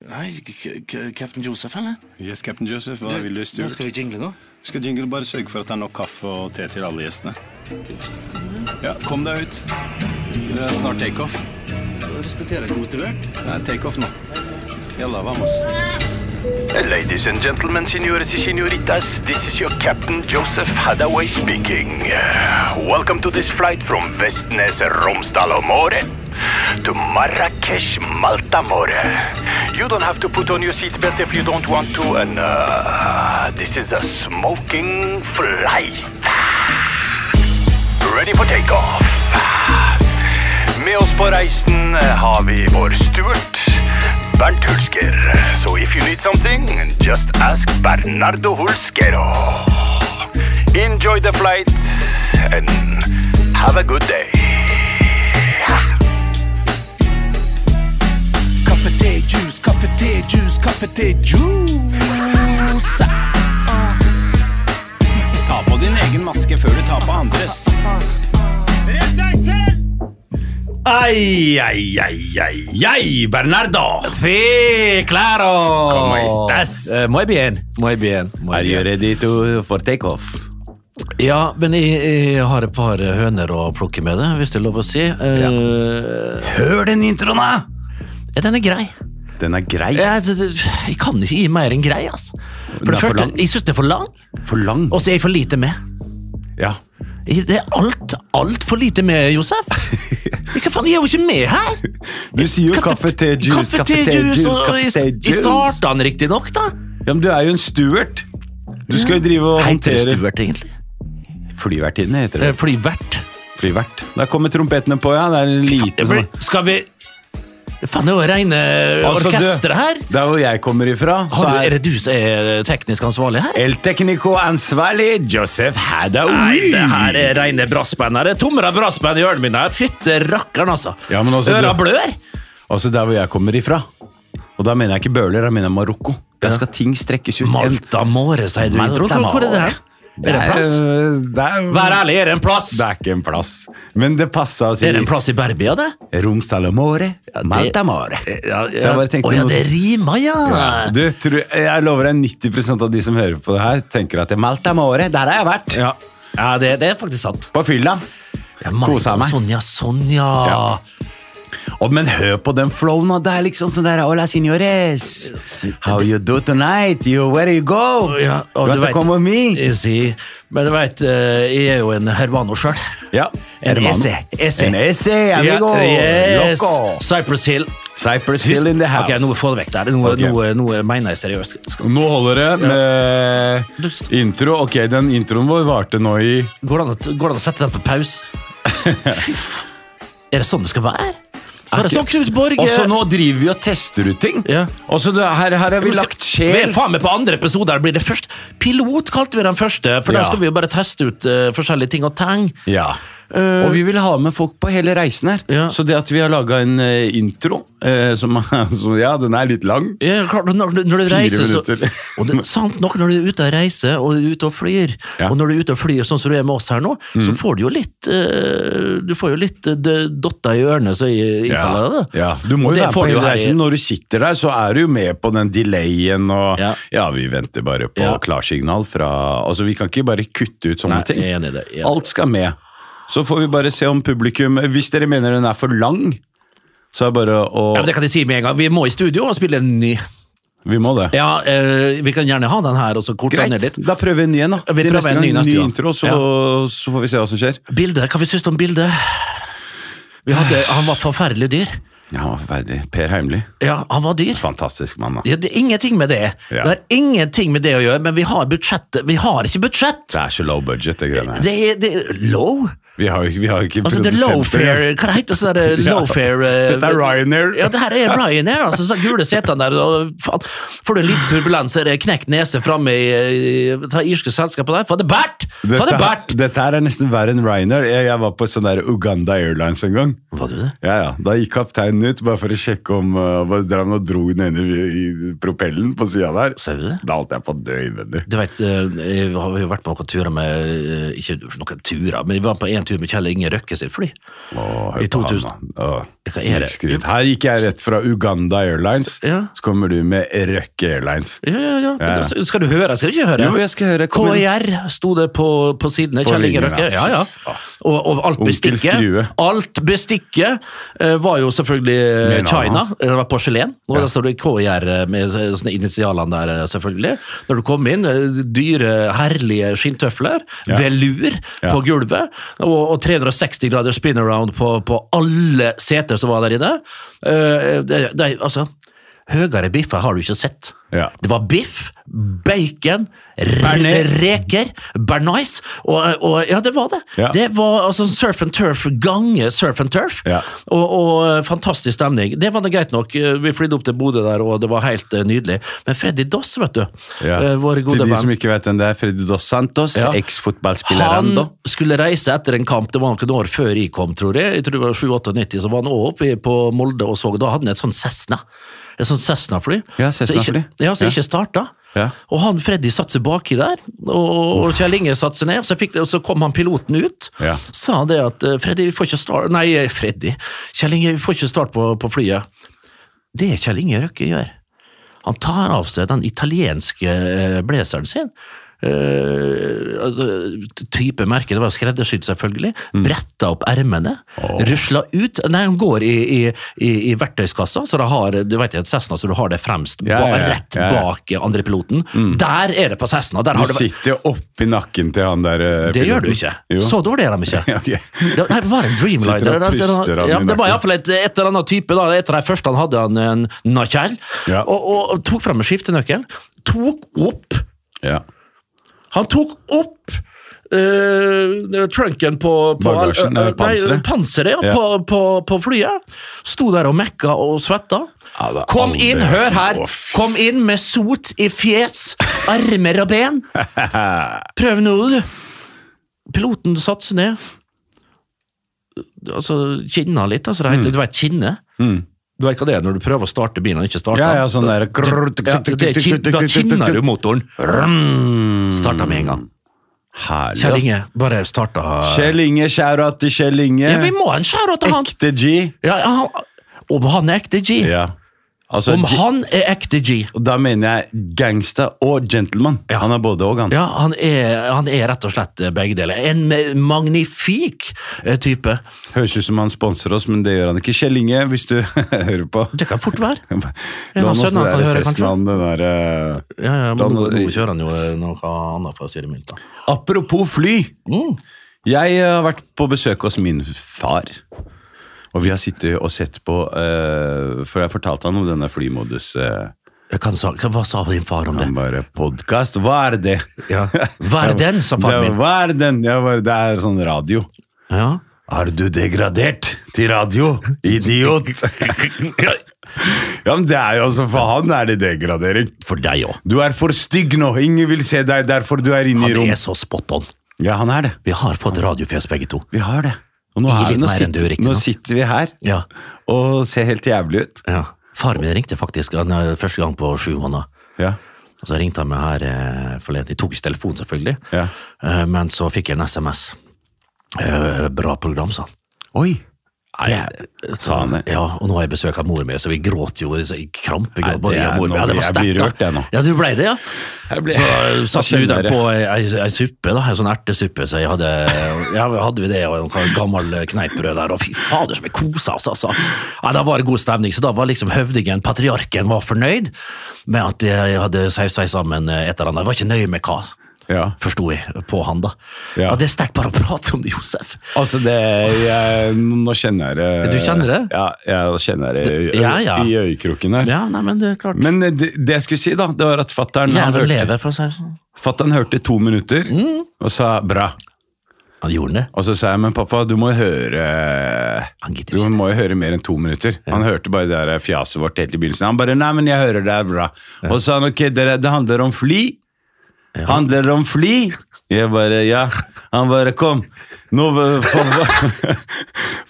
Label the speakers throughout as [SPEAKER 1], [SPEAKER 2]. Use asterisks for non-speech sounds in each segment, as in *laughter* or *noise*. [SPEAKER 1] Nei, k k Captain Joseph, eller?
[SPEAKER 2] Yes, Captain Joseph, hva vil du
[SPEAKER 1] Nå skal
[SPEAKER 2] styrt?
[SPEAKER 1] vi jingle nå.
[SPEAKER 2] Skal Jingle bare sørge for at det er nok kaffe og te til alle gjestene? Ja, kom deg ut. Det er snart takeoff.
[SPEAKER 1] Respekterer god stivert.
[SPEAKER 2] Det er takeoff nå. Jalla, vamos.
[SPEAKER 3] Ladies and gentlemen, senores y señoritas, this is your captain Joseph Hadaway speaking. Welcome to this flight from Vestnes Romsdalomore to Marrakesh Maltamore. You don't have to put on your seatbelt if you don't want to, and uh, this is a smoking flight. Ready for takeoff. Med oss på reisen har vi vår Stuart, Bernt Hulsker. So if you need something, just ask Bernardo Hulskero. Enjoy the flight and have a good day.
[SPEAKER 1] Kaffe, te, juice, kaffe, te, juice, kaffe, te, juice.
[SPEAKER 2] Ta på din egen maske før du tar på andres.
[SPEAKER 4] Ay, ay, ay, ay, ay, Bernardo.
[SPEAKER 5] Sí, Eh, claro.
[SPEAKER 4] ¿Cómo estás?
[SPEAKER 5] Eh, muy bien, muy bien. Muy
[SPEAKER 4] Are you
[SPEAKER 5] bien.
[SPEAKER 4] ready to for takeoff?
[SPEAKER 5] Ja, men jeg, jeg har et par høner å plukke med det, hvis det er lov å si. Eh,
[SPEAKER 4] Hør den introen, da!
[SPEAKER 5] ja, Den er grei.
[SPEAKER 4] Den er grei.
[SPEAKER 5] Jeg, det- det- jeg kan ikke gi mer enn grei, altså. For
[SPEAKER 4] Den
[SPEAKER 5] det
[SPEAKER 4] er for
[SPEAKER 5] første,
[SPEAKER 4] lang.
[SPEAKER 5] jeg synes den er for lang,
[SPEAKER 4] For lang.
[SPEAKER 5] og så er jeg for lite med.
[SPEAKER 4] Ja.
[SPEAKER 5] Jeg- Det er alt, alt for lite med, Josef. Jeg, hva faen, jeg er jo ikke med her.
[SPEAKER 4] Du sier jo kaffe, te, juice,
[SPEAKER 5] kaffe, te, juice, og
[SPEAKER 4] kaffe, te,
[SPEAKER 5] Jeg
[SPEAKER 4] juice.
[SPEAKER 5] starta den riktig nok, da.
[SPEAKER 4] Ja, men du er jo en steward. Du skal jo drive og
[SPEAKER 5] Heter det
[SPEAKER 4] håndtere
[SPEAKER 5] Mm. Stuart, egentlig?
[SPEAKER 4] Flyvertinne heter det.
[SPEAKER 5] Eh, Flyvert.
[SPEAKER 4] Flyvert. Der kommer trompetene på, ja. Det er en liten sånn.
[SPEAKER 5] Skal vi Faen, det er jo reine
[SPEAKER 4] Altså, du,
[SPEAKER 5] orkesteret her.
[SPEAKER 4] Der hvor jeg kommer ifra, så
[SPEAKER 5] Har du, er
[SPEAKER 4] er
[SPEAKER 5] det du som er teknisk ansvarlig her?
[SPEAKER 4] El Tecnico ansvarlig Joseph Hadaoui.
[SPEAKER 5] Nei, det her er reine brassband. her. Det er tommere brassband i ørene mine. her. Fytte rakkeren, altså.
[SPEAKER 4] Ja, men altså,
[SPEAKER 5] Øra
[SPEAKER 4] du-
[SPEAKER 5] blør.
[SPEAKER 4] Altså der hvor jeg kommer ifra. Og da mener jeg ikke Bøhler, da mener jeg Marokko. Der skal ting strekkes ut.
[SPEAKER 5] Malta Måre, sier du.
[SPEAKER 4] Malta
[SPEAKER 5] Hvor, hvor, hvor er det her?
[SPEAKER 4] Det eh,
[SPEAKER 5] Er det en plass?
[SPEAKER 4] Det er,
[SPEAKER 5] Vær ærlig, er det en plass?
[SPEAKER 4] det er ikke en plass. Men det passa å si
[SPEAKER 5] Er det en plass i Berbia, det?
[SPEAKER 4] Romsdalamore,
[SPEAKER 5] Ja, det- Eh,
[SPEAKER 4] Maltamore.
[SPEAKER 5] Ja,
[SPEAKER 4] Så jeg bare tenkte
[SPEAKER 5] Å ja,
[SPEAKER 4] noe-
[SPEAKER 5] det rimer, ja.
[SPEAKER 4] Du, tror, jeg lover deg 90 av de som hører på det her, tenker at det er Maltamore, der har jeg vært.
[SPEAKER 5] Ja, ja det, det er faktisk sant.
[SPEAKER 4] På fylla.
[SPEAKER 5] Ja, Malta,
[SPEAKER 4] Kosa meg.
[SPEAKER 5] Sånn, ja. Sånn, ja.
[SPEAKER 4] Ja. Og, men hør på den flowen, og det er liksom sånn der Hola, signores. How you do tonight? You, where you go?
[SPEAKER 5] Ja, og
[SPEAKER 4] you
[SPEAKER 5] du
[SPEAKER 4] want to
[SPEAKER 5] vet-
[SPEAKER 4] come with me?
[SPEAKER 5] Jeg sier, men du vet, eh, jeg er jo en hermano sjøl.
[SPEAKER 4] Ja.
[SPEAKER 5] En E.
[SPEAKER 4] hermano.
[SPEAKER 5] ese. ese.
[SPEAKER 4] En E, ese, amigo.
[SPEAKER 5] yes.
[SPEAKER 4] Loco.
[SPEAKER 5] Cypress Hill.
[SPEAKER 4] Cypress Hill in the house.
[SPEAKER 5] Ok, nå få det vekk der. Nå,
[SPEAKER 4] Ok.
[SPEAKER 5] nå, nå mener jeg seriøst. Skal,
[SPEAKER 4] Nå holder det med intro. Ok, den introen vår varte nå i
[SPEAKER 5] går, det an, å- går det an å sette den på
[SPEAKER 4] *laughs*
[SPEAKER 5] pause? Fy f- Er det sånn det skal være? Er det sånn, Knut Borge?
[SPEAKER 4] Og så nå driver vi og tester ut ting.
[SPEAKER 5] Ja.
[SPEAKER 4] Og så det- her, her har vi
[SPEAKER 5] Vi skal-
[SPEAKER 4] lagt
[SPEAKER 5] Vi
[SPEAKER 4] sjel.
[SPEAKER 5] er faen meg på andre episoder. Blir det først. Pilot kalte vi den første, for
[SPEAKER 4] Ja.
[SPEAKER 5] da skal vi jo bare teste ut eh, forskjellige ting og tang.
[SPEAKER 4] Ja. og vi vil ha med folk på hele reisen her.
[SPEAKER 5] Eh, Ja.
[SPEAKER 4] Så det at vi har laga en eh, intro eh, som, *laughs* som Ja, den er litt lang.
[SPEAKER 5] Ja, klart, når, når du
[SPEAKER 4] Fire
[SPEAKER 5] reiser, så,
[SPEAKER 4] minutter.
[SPEAKER 5] og det, sant nok, når du er ute og reiser, og du er ute og flyr,
[SPEAKER 4] Ja. Mm.
[SPEAKER 5] og når du er ute og flyr sånn som du er med oss her nå, så får du jo litt eh, Du får jo litt eh, d- dotter i ørene, så jeg innfaller det.
[SPEAKER 4] ja. Du
[SPEAKER 5] Og
[SPEAKER 4] må jo
[SPEAKER 5] det
[SPEAKER 4] være
[SPEAKER 5] får
[SPEAKER 4] på
[SPEAKER 5] du jo
[SPEAKER 4] hele
[SPEAKER 5] her i-
[SPEAKER 4] reisen. Når du sitter der, så er du jo med på den delayen og Ja,
[SPEAKER 5] Ja.
[SPEAKER 4] vi venter bare på
[SPEAKER 5] Ja.
[SPEAKER 4] klarsignal fra Altså, vi kan ikke bare kutte ut sånne
[SPEAKER 5] Nei,
[SPEAKER 4] ting.
[SPEAKER 5] jeg er enig i det, jeg er enig.
[SPEAKER 4] Alt skal med. Så får vi bare se om publikum Hvis dere mener den er for lang, så er det bare å
[SPEAKER 5] Ja, men det kan jeg si med en gang. Vi må i studio og spille en ny.
[SPEAKER 4] Vi må det.
[SPEAKER 5] Ja, eh, Vi kan gjerne ha den her og så korte den ned
[SPEAKER 4] Greit,
[SPEAKER 5] litt.
[SPEAKER 4] da prøver vi en ny en, da.
[SPEAKER 5] Vi
[SPEAKER 4] Til
[SPEAKER 5] prøver en ny neste
[SPEAKER 4] ny
[SPEAKER 5] gang.
[SPEAKER 4] intro, så, så får vi se hva som skjer.
[SPEAKER 5] Bildet, Hva vi syns du om bildet? Vi hadde, han var forferdelig dyr.
[SPEAKER 4] Ja, han var forferdelig. Per Heimly.
[SPEAKER 5] Ja, han var dyr.
[SPEAKER 4] Fantastisk mann, da.
[SPEAKER 5] Ja, det er ingenting med det.
[SPEAKER 4] Ja.
[SPEAKER 5] Det har ingenting med det å gjøre, men vi har budsjettet. Vi har ikke budsjett!
[SPEAKER 4] Det er så low budget, det greiene her.
[SPEAKER 5] Det er, det er low.
[SPEAKER 4] Vi har, jo- vi har jo ikke
[SPEAKER 5] Altså, det er lowfare Hva det heter det? Sånn der,
[SPEAKER 4] *laughs* Ja.
[SPEAKER 5] lowfare eh,
[SPEAKER 4] Dette er Ryanair.
[SPEAKER 5] Ja, det her
[SPEAKER 4] *laughs*
[SPEAKER 5] er Ryanair. Altså, så gule setene der. Og, faen, får du en liten turbulens, så er det knekt nese framme i, eh, i det irske selskapet der. Fader Bert!
[SPEAKER 4] Dette,
[SPEAKER 5] Fader Bert!
[SPEAKER 4] dette her er nesten verre enn Ryanair. Jeg, jeg var på sånn der Uganda Airlines en gang.
[SPEAKER 5] Var du det?
[SPEAKER 4] Ja, ja. Da gikk kapteinen ut bare for å sjekke om uh, hva- drev han og dro den ene i, i propellen på sida der.
[SPEAKER 5] Sa du det?
[SPEAKER 4] Da holdt jeg på å dø innvendig.
[SPEAKER 5] Du vet, eh, jeg har jo vært på noen turer med eh, Ikke noen turer, men vi var på en tur med Kjell Inge Røkke sitt fly.
[SPEAKER 4] Åh, hør
[SPEAKER 5] I
[SPEAKER 4] på han,
[SPEAKER 5] 2000.
[SPEAKER 4] da. Åh,
[SPEAKER 5] Hva er det?
[SPEAKER 4] snikskryt. Her gikk jeg rett fra Uganda Airlines,
[SPEAKER 5] Ja.
[SPEAKER 4] så kommer du med Røkke Airlines.
[SPEAKER 5] Ja, ja, ja.
[SPEAKER 4] Ja, ja.
[SPEAKER 5] Men da- Skal du høre? Skal du ikke høre?
[SPEAKER 4] Jo, jeg skal høre. Kom igjen.
[SPEAKER 5] KIR sto det på, på sidene.
[SPEAKER 4] På
[SPEAKER 5] Kjell Inge
[SPEAKER 4] linjen,
[SPEAKER 5] Røkke.
[SPEAKER 4] ja.
[SPEAKER 5] Ja, ja. Og, og alt
[SPEAKER 4] Onkel Skrue.
[SPEAKER 5] bestikket Alt bestikket eh, var jo selvfølgelig eh,
[SPEAKER 4] Med navnet
[SPEAKER 5] China.
[SPEAKER 4] hans.
[SPEAKER 5] Det var porselen. Og
[SPEAKER 4] Ja.
[SPEAKER 5] der står det KIR eh, med så- sånne initialene der, eh, selvfølgelig. Når du kom inn, eh, dyre, herlige skinntøfler.
[SPEAKER 4] Ja.
[SPEAKER 5] Velur
[SPEAKER 4] Ja.
[SPEAKER 5] på gulvet. Og, og 360 grader spin-around på, på alle seter som var der inne. Eh, det, det, altså, høyere biffer har du ikke sett.
[SPEAKER 4] Ja.
[SPEAKER 5] Det var biff, bacon,
[SPEAKER 4] Bearnés.
[SPEAKER 5] re reker, bearnais, og, og ja, det var det.
[SPEAKER 4] Ja.
[SPEAKER 5] Det var altså surf and turf, gange surf and turf,
[SPEAKER 4] Ja.
[SPEAKER 5] og, og fantastisk stemning. Det var det greit nok. Eh, Vi flydde opp til Bodø der, og det var helt eh, nydelig. Men Freddy Doss, vet du,
[SPEAKER 4] Ja.
[SPEAKER 5] eh, vår
[SPEAKER 4] Til
[SPEAKER 5] gode
[SPEAKER 4] de som
[SPEAKER 5] venn,
[SPEAKER 4] ikke vet hvem det er, Freddy Dos Santos,
[SPEAKER 5] Ja. han
[SPEAKER 4] eks-fotballspilleren da.
[SPEAKER 5] skulle reise etter en kamp, det var noen år før jeg kom, tror jeg. Jeg tror det var 7-98, så var han også oppe i- på Molde og så, da hadde han et sånn Cessna. Et sånt Cessna-fly.
[SPEAKER 4] Ja,
[SPEAKER 5] Så
[SPEAKER 4] Cessna-fly.
[SPEAKER 5] ikke- Ja, som
[SPEAKER 4] Ja.
[SPEAKER 5] ikke starta.
[SPEAKER 4] Ja.
[SPEAKER 5] Og han Freddy satte seg baki der, og, og Kjell Inge satte seg ned. Så, fikk, og så kom han piloten ut.
[SPEAKER 4] Ja.
[SPEAKER 5] Sa han det at eh, Freddy, vi får ikke start Nei, eh, Freddy. Kjell Inge, vi får ikke start på, på flyet. Det Kjell Inge Røkke gjør Han tar av seg den italienske eh, blazeren sin. eh, altså, type merke, det var skreddersydd selvfølgelig.
[SPEAKER 4] Mm.
[SPEAKER 5] Bretta opp ermene, rusla ut Nei, han går i, i, i, i verktøyskassa, så det har du vet, i et Cessna, så du har det fremst,
[SPEAKER 4] Ja, ja,
[SPEAKER 5] ba,
[SPEAKER 4] ja,
[SPEAKER 5] rett
[SPEAKER 4] ja, ja.
[SPEAKER 5] bak andrepiloten. Der er det på Cessna! Der
[SPEAKER 4] Du
[SPEAKER 5] har det, vært-
[SPEAKER 4] sitter jo oppi nakken til han der eh,
[SPEAKER 5] det gjør du
[SPEAKER 4] piloten.
[SPEAKER 5] ikke!
[SPEAKER 4] Jo.
[SPEAKER 5] Så dårlig er de ikke.
[SPEAKER 4] *laughs* Ja, ok.
[SPEAKER 5] Det, nei, det var en Dreamliner.
[SPEAKER 4] Sitter og
[SPEAKER 5] Det- det-
[SPEAKER 4] puster av
[SPEAKER 5] ja,
[SPEAKER 4] min
[SPEAKER 5] det var
[SPEAKER 4] nakke.
[SPEAKER 5] iallfall et, et eller annet type. Da. Etter de første han hadde han en Nachal,
[SPEAKER 4] Ja.
[SPEAKER 5] og, og, og tok fram en skiftenøkkel. Tok opp
[SPEAKER 4] Ja.
[SPEAKER 5] Han tok opp eh, trunken på, på
[SPEAKER 4] Bagasjen,
[SPEAKER 5] eh, eh,
[SPEAKER 4] eh, panseret.
[SPEAKER 5] Nei, panseret ja,
[SPEAKER 4] Ja.
[SPEAKER 5] På, på, på flyet. Sto der og mekka og svetta.
[SPEAKER 4] Ja, det er
[SPEAKER 5] Kom
[SPEAKER 4] aldri-
[SPEAKER 5] inn, hør her!
[SPEAKER 4] Å, fy.
[SPEAKER 5] Kom inn med sot i fjes, armer og
[SPEAKER 4] *laughs*
[SPEAKER 5] ben. Prøv nå, du. Piloten satte seg ned. Altså, kinna litt, altså. Det
[SPEAKER 4] Mm.
[SPEAKER 5] heter, Du vet kinne. Du vet hva det er når du prøver å starte bilen og ikke starter
[SPEAKER 4] ja,
[SPEAKER 5] den?
[SPEAKER 4] ja, sånn
[SPEAKER 5] Ja,
[SPEAKER 4] der
[SPEAKER 5] det er kin- Da kinner du motoren.
[SPEAKER 4] Mm.
[SPEAKER 5] Starta med en gang.
[SPEAKER 4] Herlig,
[SPEAKER 5] Kjell
[SPEAKER 4] ass.
[SPEAKER 5] Inge, bare starta
[SPEAKER 4] Kjell Inge, shout-out til Kjell Inge.
[SPEAKER 5] ja, Vi må ha en skjæra til han.
[SPEAKER 4] Ekte G.
[SPEAKER 5] Ja, han! Om han er ekte G.
[SPEAKER 4] Ja. Altså,
[SPEAKER 5] Om
[SPEAKER 4] G-
[SPEAKER 5] han er ekte G.
[SPEAKER 4] og da mener jeg gangster og gentleman.
[SPEAKER 5] Ja.
[SPEAKER 4] Han er både og, han.
[SPEAKER 5] Ja, han er, han er rett og slett eh, begge deler. En me- magnifik eh, type.
[SPEAKER 4] Høres ut som han sponser oss, men det gjør han ikke. Kjell Inge, hvis du *laughs* hører på.
[SPEAKER 5] Det kan fort *laughs* være.
[SPEAKER 4] La
[SPEAKER 5] av
[SPEAKER 4] oss den
[SPEAKER 5] sønnene
[SPEAKER 4] der
[SPEAKER 5] kan høre,
[SPEAKER 4] Cessnaen, den der eh.
[SPEAKER 5] Ja, ja,
[SPEAKER 4] Da
[SPEAKER 5] men nå,
[SPEAKER 4] nå-
[SPEAKER 5] nå kjører han jo eh, noe annet, for å si det mildt. da.
[SPEAKER 4] Apropos fly.
[SPEAKER 5] Mm.
[SPEAKER 4] Jeg eh, har vært på besøk hos min far. Og vi har sittet og sett på eh, Før jeg fortalte han om denne flymodus eh,
[SPEAKER 5] Jeg kan sa, hva sa din far om det?
[SPEAKER 4] Han bare 'Podkast, hva er det?'
[SPEAKER 5] *laughs* Ja. Hva er den, sa
[SPEAKER 4] Det,
[SPEAKER 5] faren min.
[SPEAKER 4] hva er den? Jeg bare, det er sånn radio.
[SPEAKER 5] Ja. *laughs*
[SPEAKER 4] Har du degradert til radio, idiot?
[SPEAKER 5] *laughs*
[SPEAKER 4] ja, men det er jo altså, for han er det degradering.
[SPEAKER 5] For deg òg.
[SPEAKER 4] Du er for stygg nå, ingen vil se deg, derfor du er inne i
[SPEAKER 5] Han
[SPEAKER 4] rom.
[SPEAKER 5] er så spot on.
[SPEAKER 4] Ja, han er det.
[SPEAKER 5] Vi har fått radiofjes, begge to.
[SPEAKER 4] Vi har det. Og nå,
[SPEAKER 5] Gi
[SPEAKER 4] er,
[SPEAKER 5] litt
[SPEAKER 4] nå,
[SPEAKER 5] mer enn du,
[SPEAKER 4] sitter,
[SPEAKER 5] riktig
[SPEAKER 4] nå
[SPEAKER 5] nok.
[SPEAKER 4] sitter vi her
[SPEAKER 5] Ja.
[SPEAKER 4] og ser helt jævlig ut.
[SPEAKER 5] ja. Faren min ringte faktisk han, eh, første gang på sju måneder.
[SPEAKER 4] Ja,
[SPEAKER 5] Og Så ringte han meg her eh, forleden. Jeg tok ikke telefonen, selvfølgelig.
[SPEAKER 4] ja.
[SPEAKER 5] Eh, Men så fikk jeg en SMS. Eh, Bra program, sa han.
[SPEAKER 4] Oi!
[SPEAKER 5] Så-
[SPEAKER 4] sa han det?
[SPEAKER 5] Ja, og nå har jeg besøk av mor mi, så vi gråt jo i i krampe.
[SPEAKER 4] Nei,
[SPEAKER 5] gråt bare
[SPEAKER 4] det
[SPEAKER 5] jeg og
[SPEAKER 4] er-
[SPEAKER 5] mor mi.
[SPEAKER 4] nå
[SPEAKER 5] Ja, det var
[SPEAKER 4] blir jeg- jeg blir
[SPEAKER 5] sterkt, da.
[SPEAKER 4] rørt, jeg nå.
[SPEAKER 5] Ja, du blei det, ja? Så satt
[SPEAKER 4] Jeg
[SPEAKER 5] vi
[SPEAKER 4] kjenner
[SPEAKER 5] der
[SPEAKER 4] det.
[SPEAKER 5] på ei, ei, ei suppe, da, ei sånn ertesuppe, så jeg hadde, ja, hadde vi det, og noe gammel eh, kneippbrød der, og fy fader som vi kosa oss, altså. Ja, da var det god stemning, så da var liksom høvdingen, patriarken, var fornøyd med at jeg hadde sausa sammen eh, et eller annet. Jeg var ikke nøye med hva,
[SPEAKER 4] Ja.
[SPEAKER 5] forsto jeg på han, da.
[SPEAKER 4] Ja.
[SPEAKER 5] Ja. det er sterkt bare å prate om det, Josef.
[SPEAKER 4] Altså, det jeg, Nå kjenner jeg det.
[SPEAKER 5] Du kjenner det?
[SPEAKER 4] Ja, jeg kjenner det i,
[SPEAKER 5] Ja, ja.
[SPEAKER 4] i øyekroken her.
[SPEAKER 5] Ja, nei, men det er klart.
[SPEAKER 4] Men eh, det, det jeg skulle si, da, det var at fattern han
[SPEAKER 5] Jævlen
[SPEAKER 4] hørte,
[SPEAKER 5] lever, for å si det sånn.
[SPEAKER 4] fatteren hørte to minutter
[SPEAKER 5] Mm.
[SPEAKER 4] og sa 'bra'.
[SPEAKER 5] Han gjorde det.
[SPEAKER 4] Og så sa jeg 'men pappa, du må jo høre
[SPEAKER 5] Han gidder
[SPEAKER 4] Du
[SPEAKER 5] ikke.
[SPEAKER 4] må jo høre mer enn to minutter'. Han hørte bare det der fjaset vårt helt i begynnelsen. Han bare 'nei, men jeg hører det er bra'. Og så sa han 'ok, dere, det handler om fly'. Handler det om fly? Jeg bare ja. Han bare kom. Nå, eh, fa-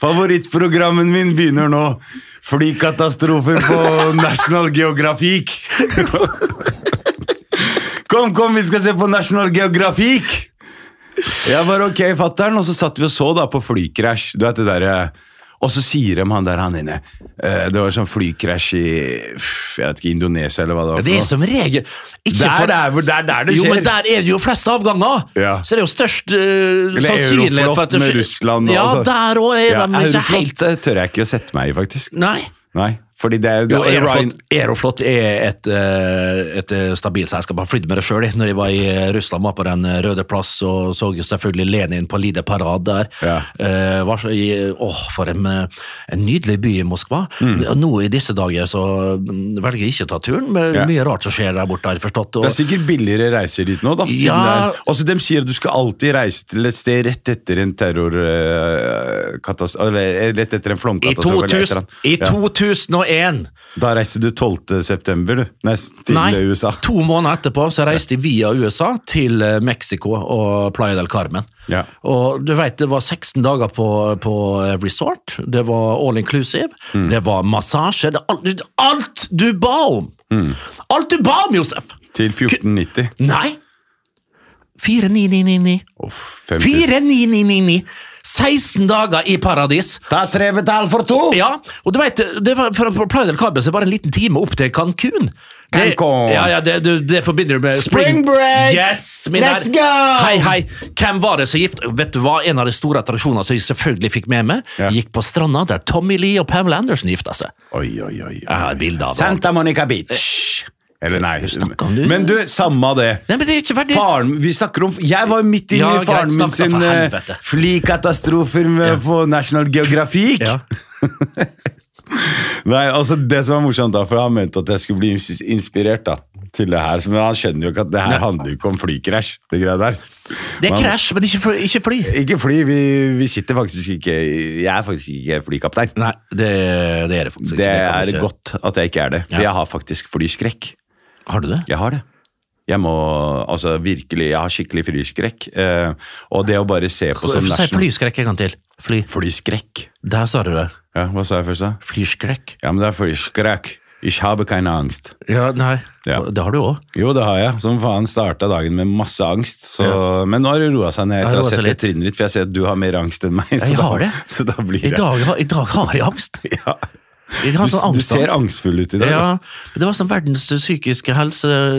[SPEAKER 4] favorittprogrammen min begynner nå. Flykatastrofer
[SPEAKER 5] *laughs*
[SPEAKER 4] på National Geografik. Kom, kom, vi skal se på National Geografik! Jeg var ok, fatter'n, og så satt vi og så da på flykrasj. Du vet det der, eh, Og så sier de han der han inne eh, Det var sånn flykrasj i pff, jeg vet ikke, Indonesia eller hva det var.
[SPEAKER 5] Det er
[SPEAKER 4] for noe.
[SPEAKER 5] som regel ikke
[SPEAKER 4] Der,
[SPEAKER 5] for-
[SPEAKER 4] der, hvor- der, der det
[SPEAKER 5] Jo,
[SPEAKER 4] skjer!
[SPEAKER 5] men der er det jo flest avganger!
[SPEAKER 4] Ja.
[SPEAKER 5] Så det er jo størst eh, sannsynlighet for at
[SPEAKER 4] Euroflot
[SPEAKER 5] det
[SPEAKER 4] med
[SPEAKER 5] skjer-
[SPEAKER 4] Russland og
[SPEAKER 5] Ja,
[SPEAKER 4] altså.
[SPEAKER 5] der òg er
[SPEAKER 4] ja,
[SPEAKER 5] de ikke
[SPEAKER 4] Euroflot
[SPEAKER 5] helt
[SPEAKER 4] eh, tør jeg ikke å sette meg i, faktisk.
[SPEAKER 5] Nei.
[SPEAKER 4] Nei, fordi det er
[SPEAKER 5] Jo, Aeroflot,
[SPEAKER 4] Ryan-
[SPEAKER 5] Aeroflot er et, eh, et eh, stabilt selskap. Jeg flydde med det sjøl når jeg var i eh, Russland, var på Den eh, røde plass og så selvfølgelig Lenin på Lide Parad der.
[SPEAKER 4] Ja.
[SPEAKER 5] Eh, var så, i, åh, for en, eh, en nydelig by i Moskva.
[SPEAKER 4] Mm.
[SPEAKER 5] Nå i disse dager så mm, velger jeg ikke å ta turen, men
[SPEAKER 4] Ja.
[SPEAKER 5] mye rart som skjer der borte, har jeg forstått.
[SPEAKER 4] Det
[SPEAKER 5] Og,
[SPEAKER 4] er sikkert billigere reiser dit nå, da. siden
[SPEAKER 5] Ja.
[SPEAKER 4] det er- Også, de sier at du skal alltid reise til et sted rett etter en terrorkatastrofe Eller eh, rett etter en
[SPEAKER 5] i,
[SPEAKER 4] flomkatastrofe. eller et eller
[SPEAKER 5] 2000,
[SPEAKER 4] annet.
[SPEAKER 5] I
[SPEAKER 4] Ja.
[SPEAKER 5] 2001
[SPEAKER 4] Da reiste du 12. september, du. Nei, s- til
[SPEAKER 5] Nei,
[SPEAKER 4] USA.
[SPEAKER 5] to måneder etterpå så reiste jeg via USA til eh, Mexico og Playa del Carmen.
[SPEAKER 4] Ja.
[SPEAKER 5] Og du vet, det var 16 dager på, på eh, resort, det var all inclusive, det var massasje, det, alt, alt du ba om! Alt du ba om, Josef!
[SPEAKER 4] Til 1490.
[SPEAKER 5] Nei! 4999.
[SPEAKER 4] Uff, 50.
[SPEAKER 5] 4999! 16 dager i paradis.
[SPEAKER 4] Ta tre betal for to!
[SPEAKER 5] Ja, og du vet, det var, for for Playa del Carmen så er det bare en liten time opp til Cancun. Det,
[SPEAKER 4] Cancun.
[SPEAKER 5] ja, ja, det, du- det forbinder du med
[SPEAKER 4] Spring break!
[SPEAKER 5] Yes, min
[SPEAKER 4] Let's
[SPEAKER 5] herre.
[SPEAKER 4] go!
[SPEAKER 5] Hei, hei! Hvem var det som gift? Vet du hva, En av de store attraksjonene som jeg selvfølgelig fikk med meg,
[SPEAKER 4] Ja.
[SPEAKER 5] gikk på stranda der Tommy Lee og Pamela Anderson gifta seg.
[SPEAKER 4] Oi, oi, oi.
[SPEAKER 5] Jeg har bilde av det.
[SPEAKER 4] Santa Monica Beach. Eller nei.
[SPEAKER 5] snakker om du-
[SPEAKER 4] Men du, samme av det.
[SPEAKER 5] Nei, men det er ikke verdig.
[SPEAKER 4] Faren, vi snakker om Jeg var midt inne
[SPEAKER 5] Ja,
[SPEAKER 4] i faren
[SPEAKER 5] greit,
[SPEAKER 4] min
[SPEAKER 5] snakk
[SPEAKER 4] sin
[SPEAKER 5] da, for
[SPEAKER 4] eh,
[SPEAKER 5] helvete.
[SPEAKER 4] flykatastrofer med, på National Geographic.
[SPEAKER 5] Ja.
[SPEAKER 4] Nei, altså Det som var morsomt, da For han mente at jeg skulle bli ins- inspirert da til det her. Men han skjønner jo ikke at det her handler jo ikke om flykrasj. Det greia der
[SPEAKER 5] Det er
[SPEAKER 4] Man-
[SPEAKER 5] krasj, men ikke fly. Ikke fly.
[SPEAKER 4] Ikke fly. Vi, vi sitter faktisk ikke i- Jeg er faktisk ikke flykaptein.
[SPEAKER 5] Nei, det, det er det faktisk ikke.
[SPEAKER 4] Det
[SPEAKER 5] kan
[SPEAKER 4] er
[SPEAKER 5] vi ikke-
[SPEAKER 4] godt at jeg ikke er det. For
[SPEAKER 5] Ja.
[SPEAKER 4] jeg har faktisk flyskrekk.
[SPEAKER 5] Har du det?
[SPEAKER 4] Jeg har det. Jeg må altså virkelig Jeg har skikkelig flyskrekk. Eh, og det å bare se på sånn
[SPEAKER 5] Si
[SPEAKER 4] national-
[SPEAKER 5] flyskrekk en gang til. Fly.
[SPEAKER 4] Flyskrekk.
[SPEAKER 5] Der sa du det.
[SPEAKER 4] Ja, hva sa jeg først da?
[SPEAKER 5] Flyskrekk.
[SPEAKER 4] Ja, men det er flyskrekk. Ich habe keine angst.
[SPEAKER 5] Ja, nei.
[SPEAKER 4] Ja.
[SPEAKER 5] Det har du òg.
[SPEAKER 4] Jo, det har jeg. Som faen starta dagen med masse angst. Så, Men nå har det roa seg ned
[SPEAKER 5] Det har
[SPEAKER 4] etter å ha
[SPEAKER 5] roet seg
[SPEAKER 4] sett det trinnet ditt, for jeg ser at du har mer angst enn meg. Så,
[SPEAKER 5] jeg
[SPEAKER 4] da,
[SPEAKER 5] har det.
[SPEAKER 4] *laughs* så da blir
[SPEAKER 5] I
[SPEAKER 4] det
[SPEAKER 5] dag, har- I dag har jeg angst.
[SPEAKER 4] ja.
[SPEAKER 5] Jeg
[SPEAKER 4] du,
[SPEAKER 5] har sånn
[SPEAKER 4] du
[SPEAKER 5] angst,
[SPEAKER 4] ser angstfull ut i dag.
[SPEAKER 5] Ja,
[SPEAKER 4] altså.
[SPEAKER 5] men det var sånn verdens psykiske helse eh,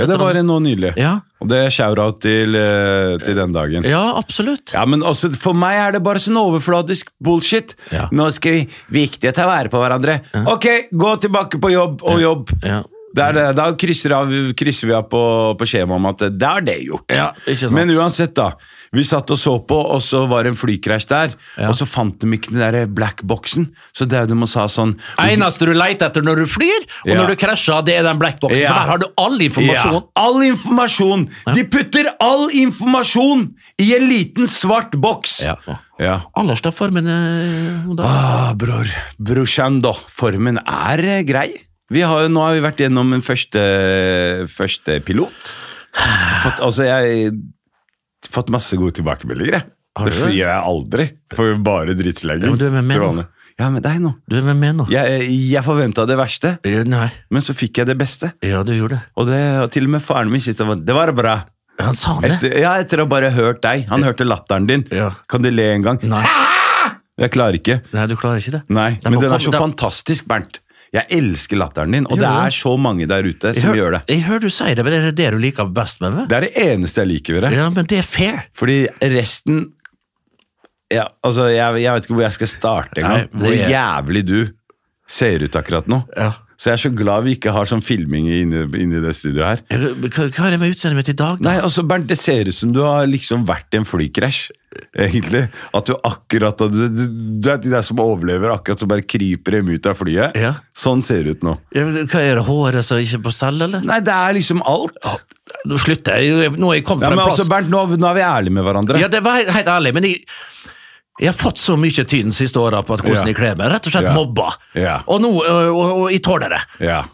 [SPEAKER 4] Ja, det var nå nylig.
[SPEAKER 5] sånn- Ja.
[SPEAKER 4] Og det er shout-out til, eh, til den dagen.
[SPEAKER 5] Ja, absolutt.
[SPEAKER 4] Ja, men også, For meg er det bare sånn overfladisk bullshit.
[SPEAKER 5] Ja.
[SPEAKER 4] Nå skal vi viktig å ta vare på hverandre. Ok, gå tilbake på jobb og jobb.
[SPEAKER 5] Ja.
[SPEAKER 4] Det er det. Da krysser, av, krysser vi av på, på skjemaet om at eh, det er det gjort.
[SPEAKER 5] Ja, ikke sant.
[SPEAKER 4] Men uansett, da. Vi satt og så på, og så var det en flykrasj der. Og så fant de ikke den der blackboxen. Så Daudum og sa sånn
[SPEAKER 5] Eneste du leter etter når du flyr, og
[SPEAKER 4] Ja.
[SPEAKER 5] når du krasjer, det er den blackboxen.
[SPEAKER 4] Ja.
[SPEAKER 5] For der har du all informasjon.
[SPEAKER 4] Ja, all informasjon! De putter all informasjon i en liten svart boks!
[SPEAKER 5] Ja.
[SPEAKER 4] ja.
[SPEAKER 5] Ellers da formen eh, da.
[SPEAKER 4] Ah, bror. Brorsan, da. Formen er eh, grei. Vi har, jo- nå har vi vært gjennom en første, første pilot. Fått, altså, jeg har fått masse gode tilbakemeldinger, jeg.
[SPEAKER 5] Har
[SPEAKER 4] Det
[SPEAKER 5] du det?
[SPEAKER 4] gjør jeg aldri. Får jo bare
[SPEAKER 5] Ja,
[SPEAKER 4] drittslenging.
[SPEAKER 5] men du er med meg
[SPEAKER 4] til
[SPEAKER 5] nå.
[SPEAKER 4] vanlig. Ja, med deg nå.
[SPEAKER 5] Du er med meg nå.
[SPEAKER 4] Jeg, jeg forventa det verste,
[SPEAKER 5] Eh, Nei.
[SPEAKER 4] men så fikk jeg det beste.
[SPEAKER 5] Ja, du gjorde det.
[SPEAKER 4] Og, det, og til og med faren min syntes det var- det var bra.
[SPEAKER 5] Han sa det.
[SPEAKER 4] Etter, ja, etter å ha bare hørt deg. Han hørte latteren din.
[SPEAKER 5] Ja.
[SPEAKER 4] Kan du le en gang?
[SPEAKER 5] Nei.
[SPEAKER 4] Jeg klarer ikke.
[SPEAKER 5] Nei, du klarer ikke det. Nei,
[SPEAKER 4] Nei, men
[SPEAKER 5] men
[SPEAKER 4] den er
[SPEAKER 5] kom-
[SPEAKER 4] så
[SPEAKER 5] da-
[SPEAKER 4] fantastisk, Bernt. Jeg elsker latteren din, og det
[SPEAKER 5] Gjør du
[SPEAKER 4] er så mange der ute som
[SPEAKER 5] jeg,
[SPEAKER 4] gjør
[SPEAKER 5] hører,
[SPEAKER 4] det.
[SPEAKER 5] jeg hører du sier det, men det er det du liker best med meg.
[SPEAKER 4] Det er det eneste jeg liker ved det.
[SPEAKER 5] Ja, men det er fair.
[SPEAKER 4] Fordi resten ja, altså, jeg, jeg vet ikke hvor jeg skal starte engang.
[SPEAKER 5] Nei,
[SPEAKER 4] Hvor
[SPEAKER 5] det er-
[SPEAKER 4] jævlig du ser ut akkurat nå.
[SPEAKER 5] Ja.
[SPEAKER 4] Så jeg er så glad vi ikke har sånn filming inni, inni det studioet her.
[SPEAKER 5] Eh, Hva, hva er det med utseendet mitt i dag, da?
[SPEAKER 4] Nei, altså Bernt, det ser ut som du har liksom vært i en flykrasj, egentlig. At du akkurat Du, du, du er de der som overlever, akkurat som bare kryper dem ut av flyet.
[SPEAKER 5] Ja.
[SPEAKER 4] Sånn ser det ut nå.
[SPEAKER 5] Ja, men Hva er det, håret som ikke er på stell, eller?
[SPEAKER 4] Nei, det er liksom alt.
[SPEAKER 5] Nå slutter jeg. Nå har jeg kommet
[SPEAKER 4] Ja,
[SPEAKER 5] fra
[SPEAKER 4] men
[SPEAKER 5] en plass
[SPEAKER 4] altså, Bernt, nå, nå er vi ærlige med hverandre.
[SPEAKER 5] Ja, det var helt- helt ærlig, men jeg, jeg har fått så mye tyn siste åra på at hvordan
[SPEAKER 4] Ja.
[SPEAKER 5] jeg kler meg. Rett og slett
[SPEAKER 4] Ja.
[SPEAKER 5] mobba.
[SPEAKER 4] Ja.
[SPEAKER 5] Og, nå, og, og, og jeg tåler det.
[SPEAKER 4] Ja.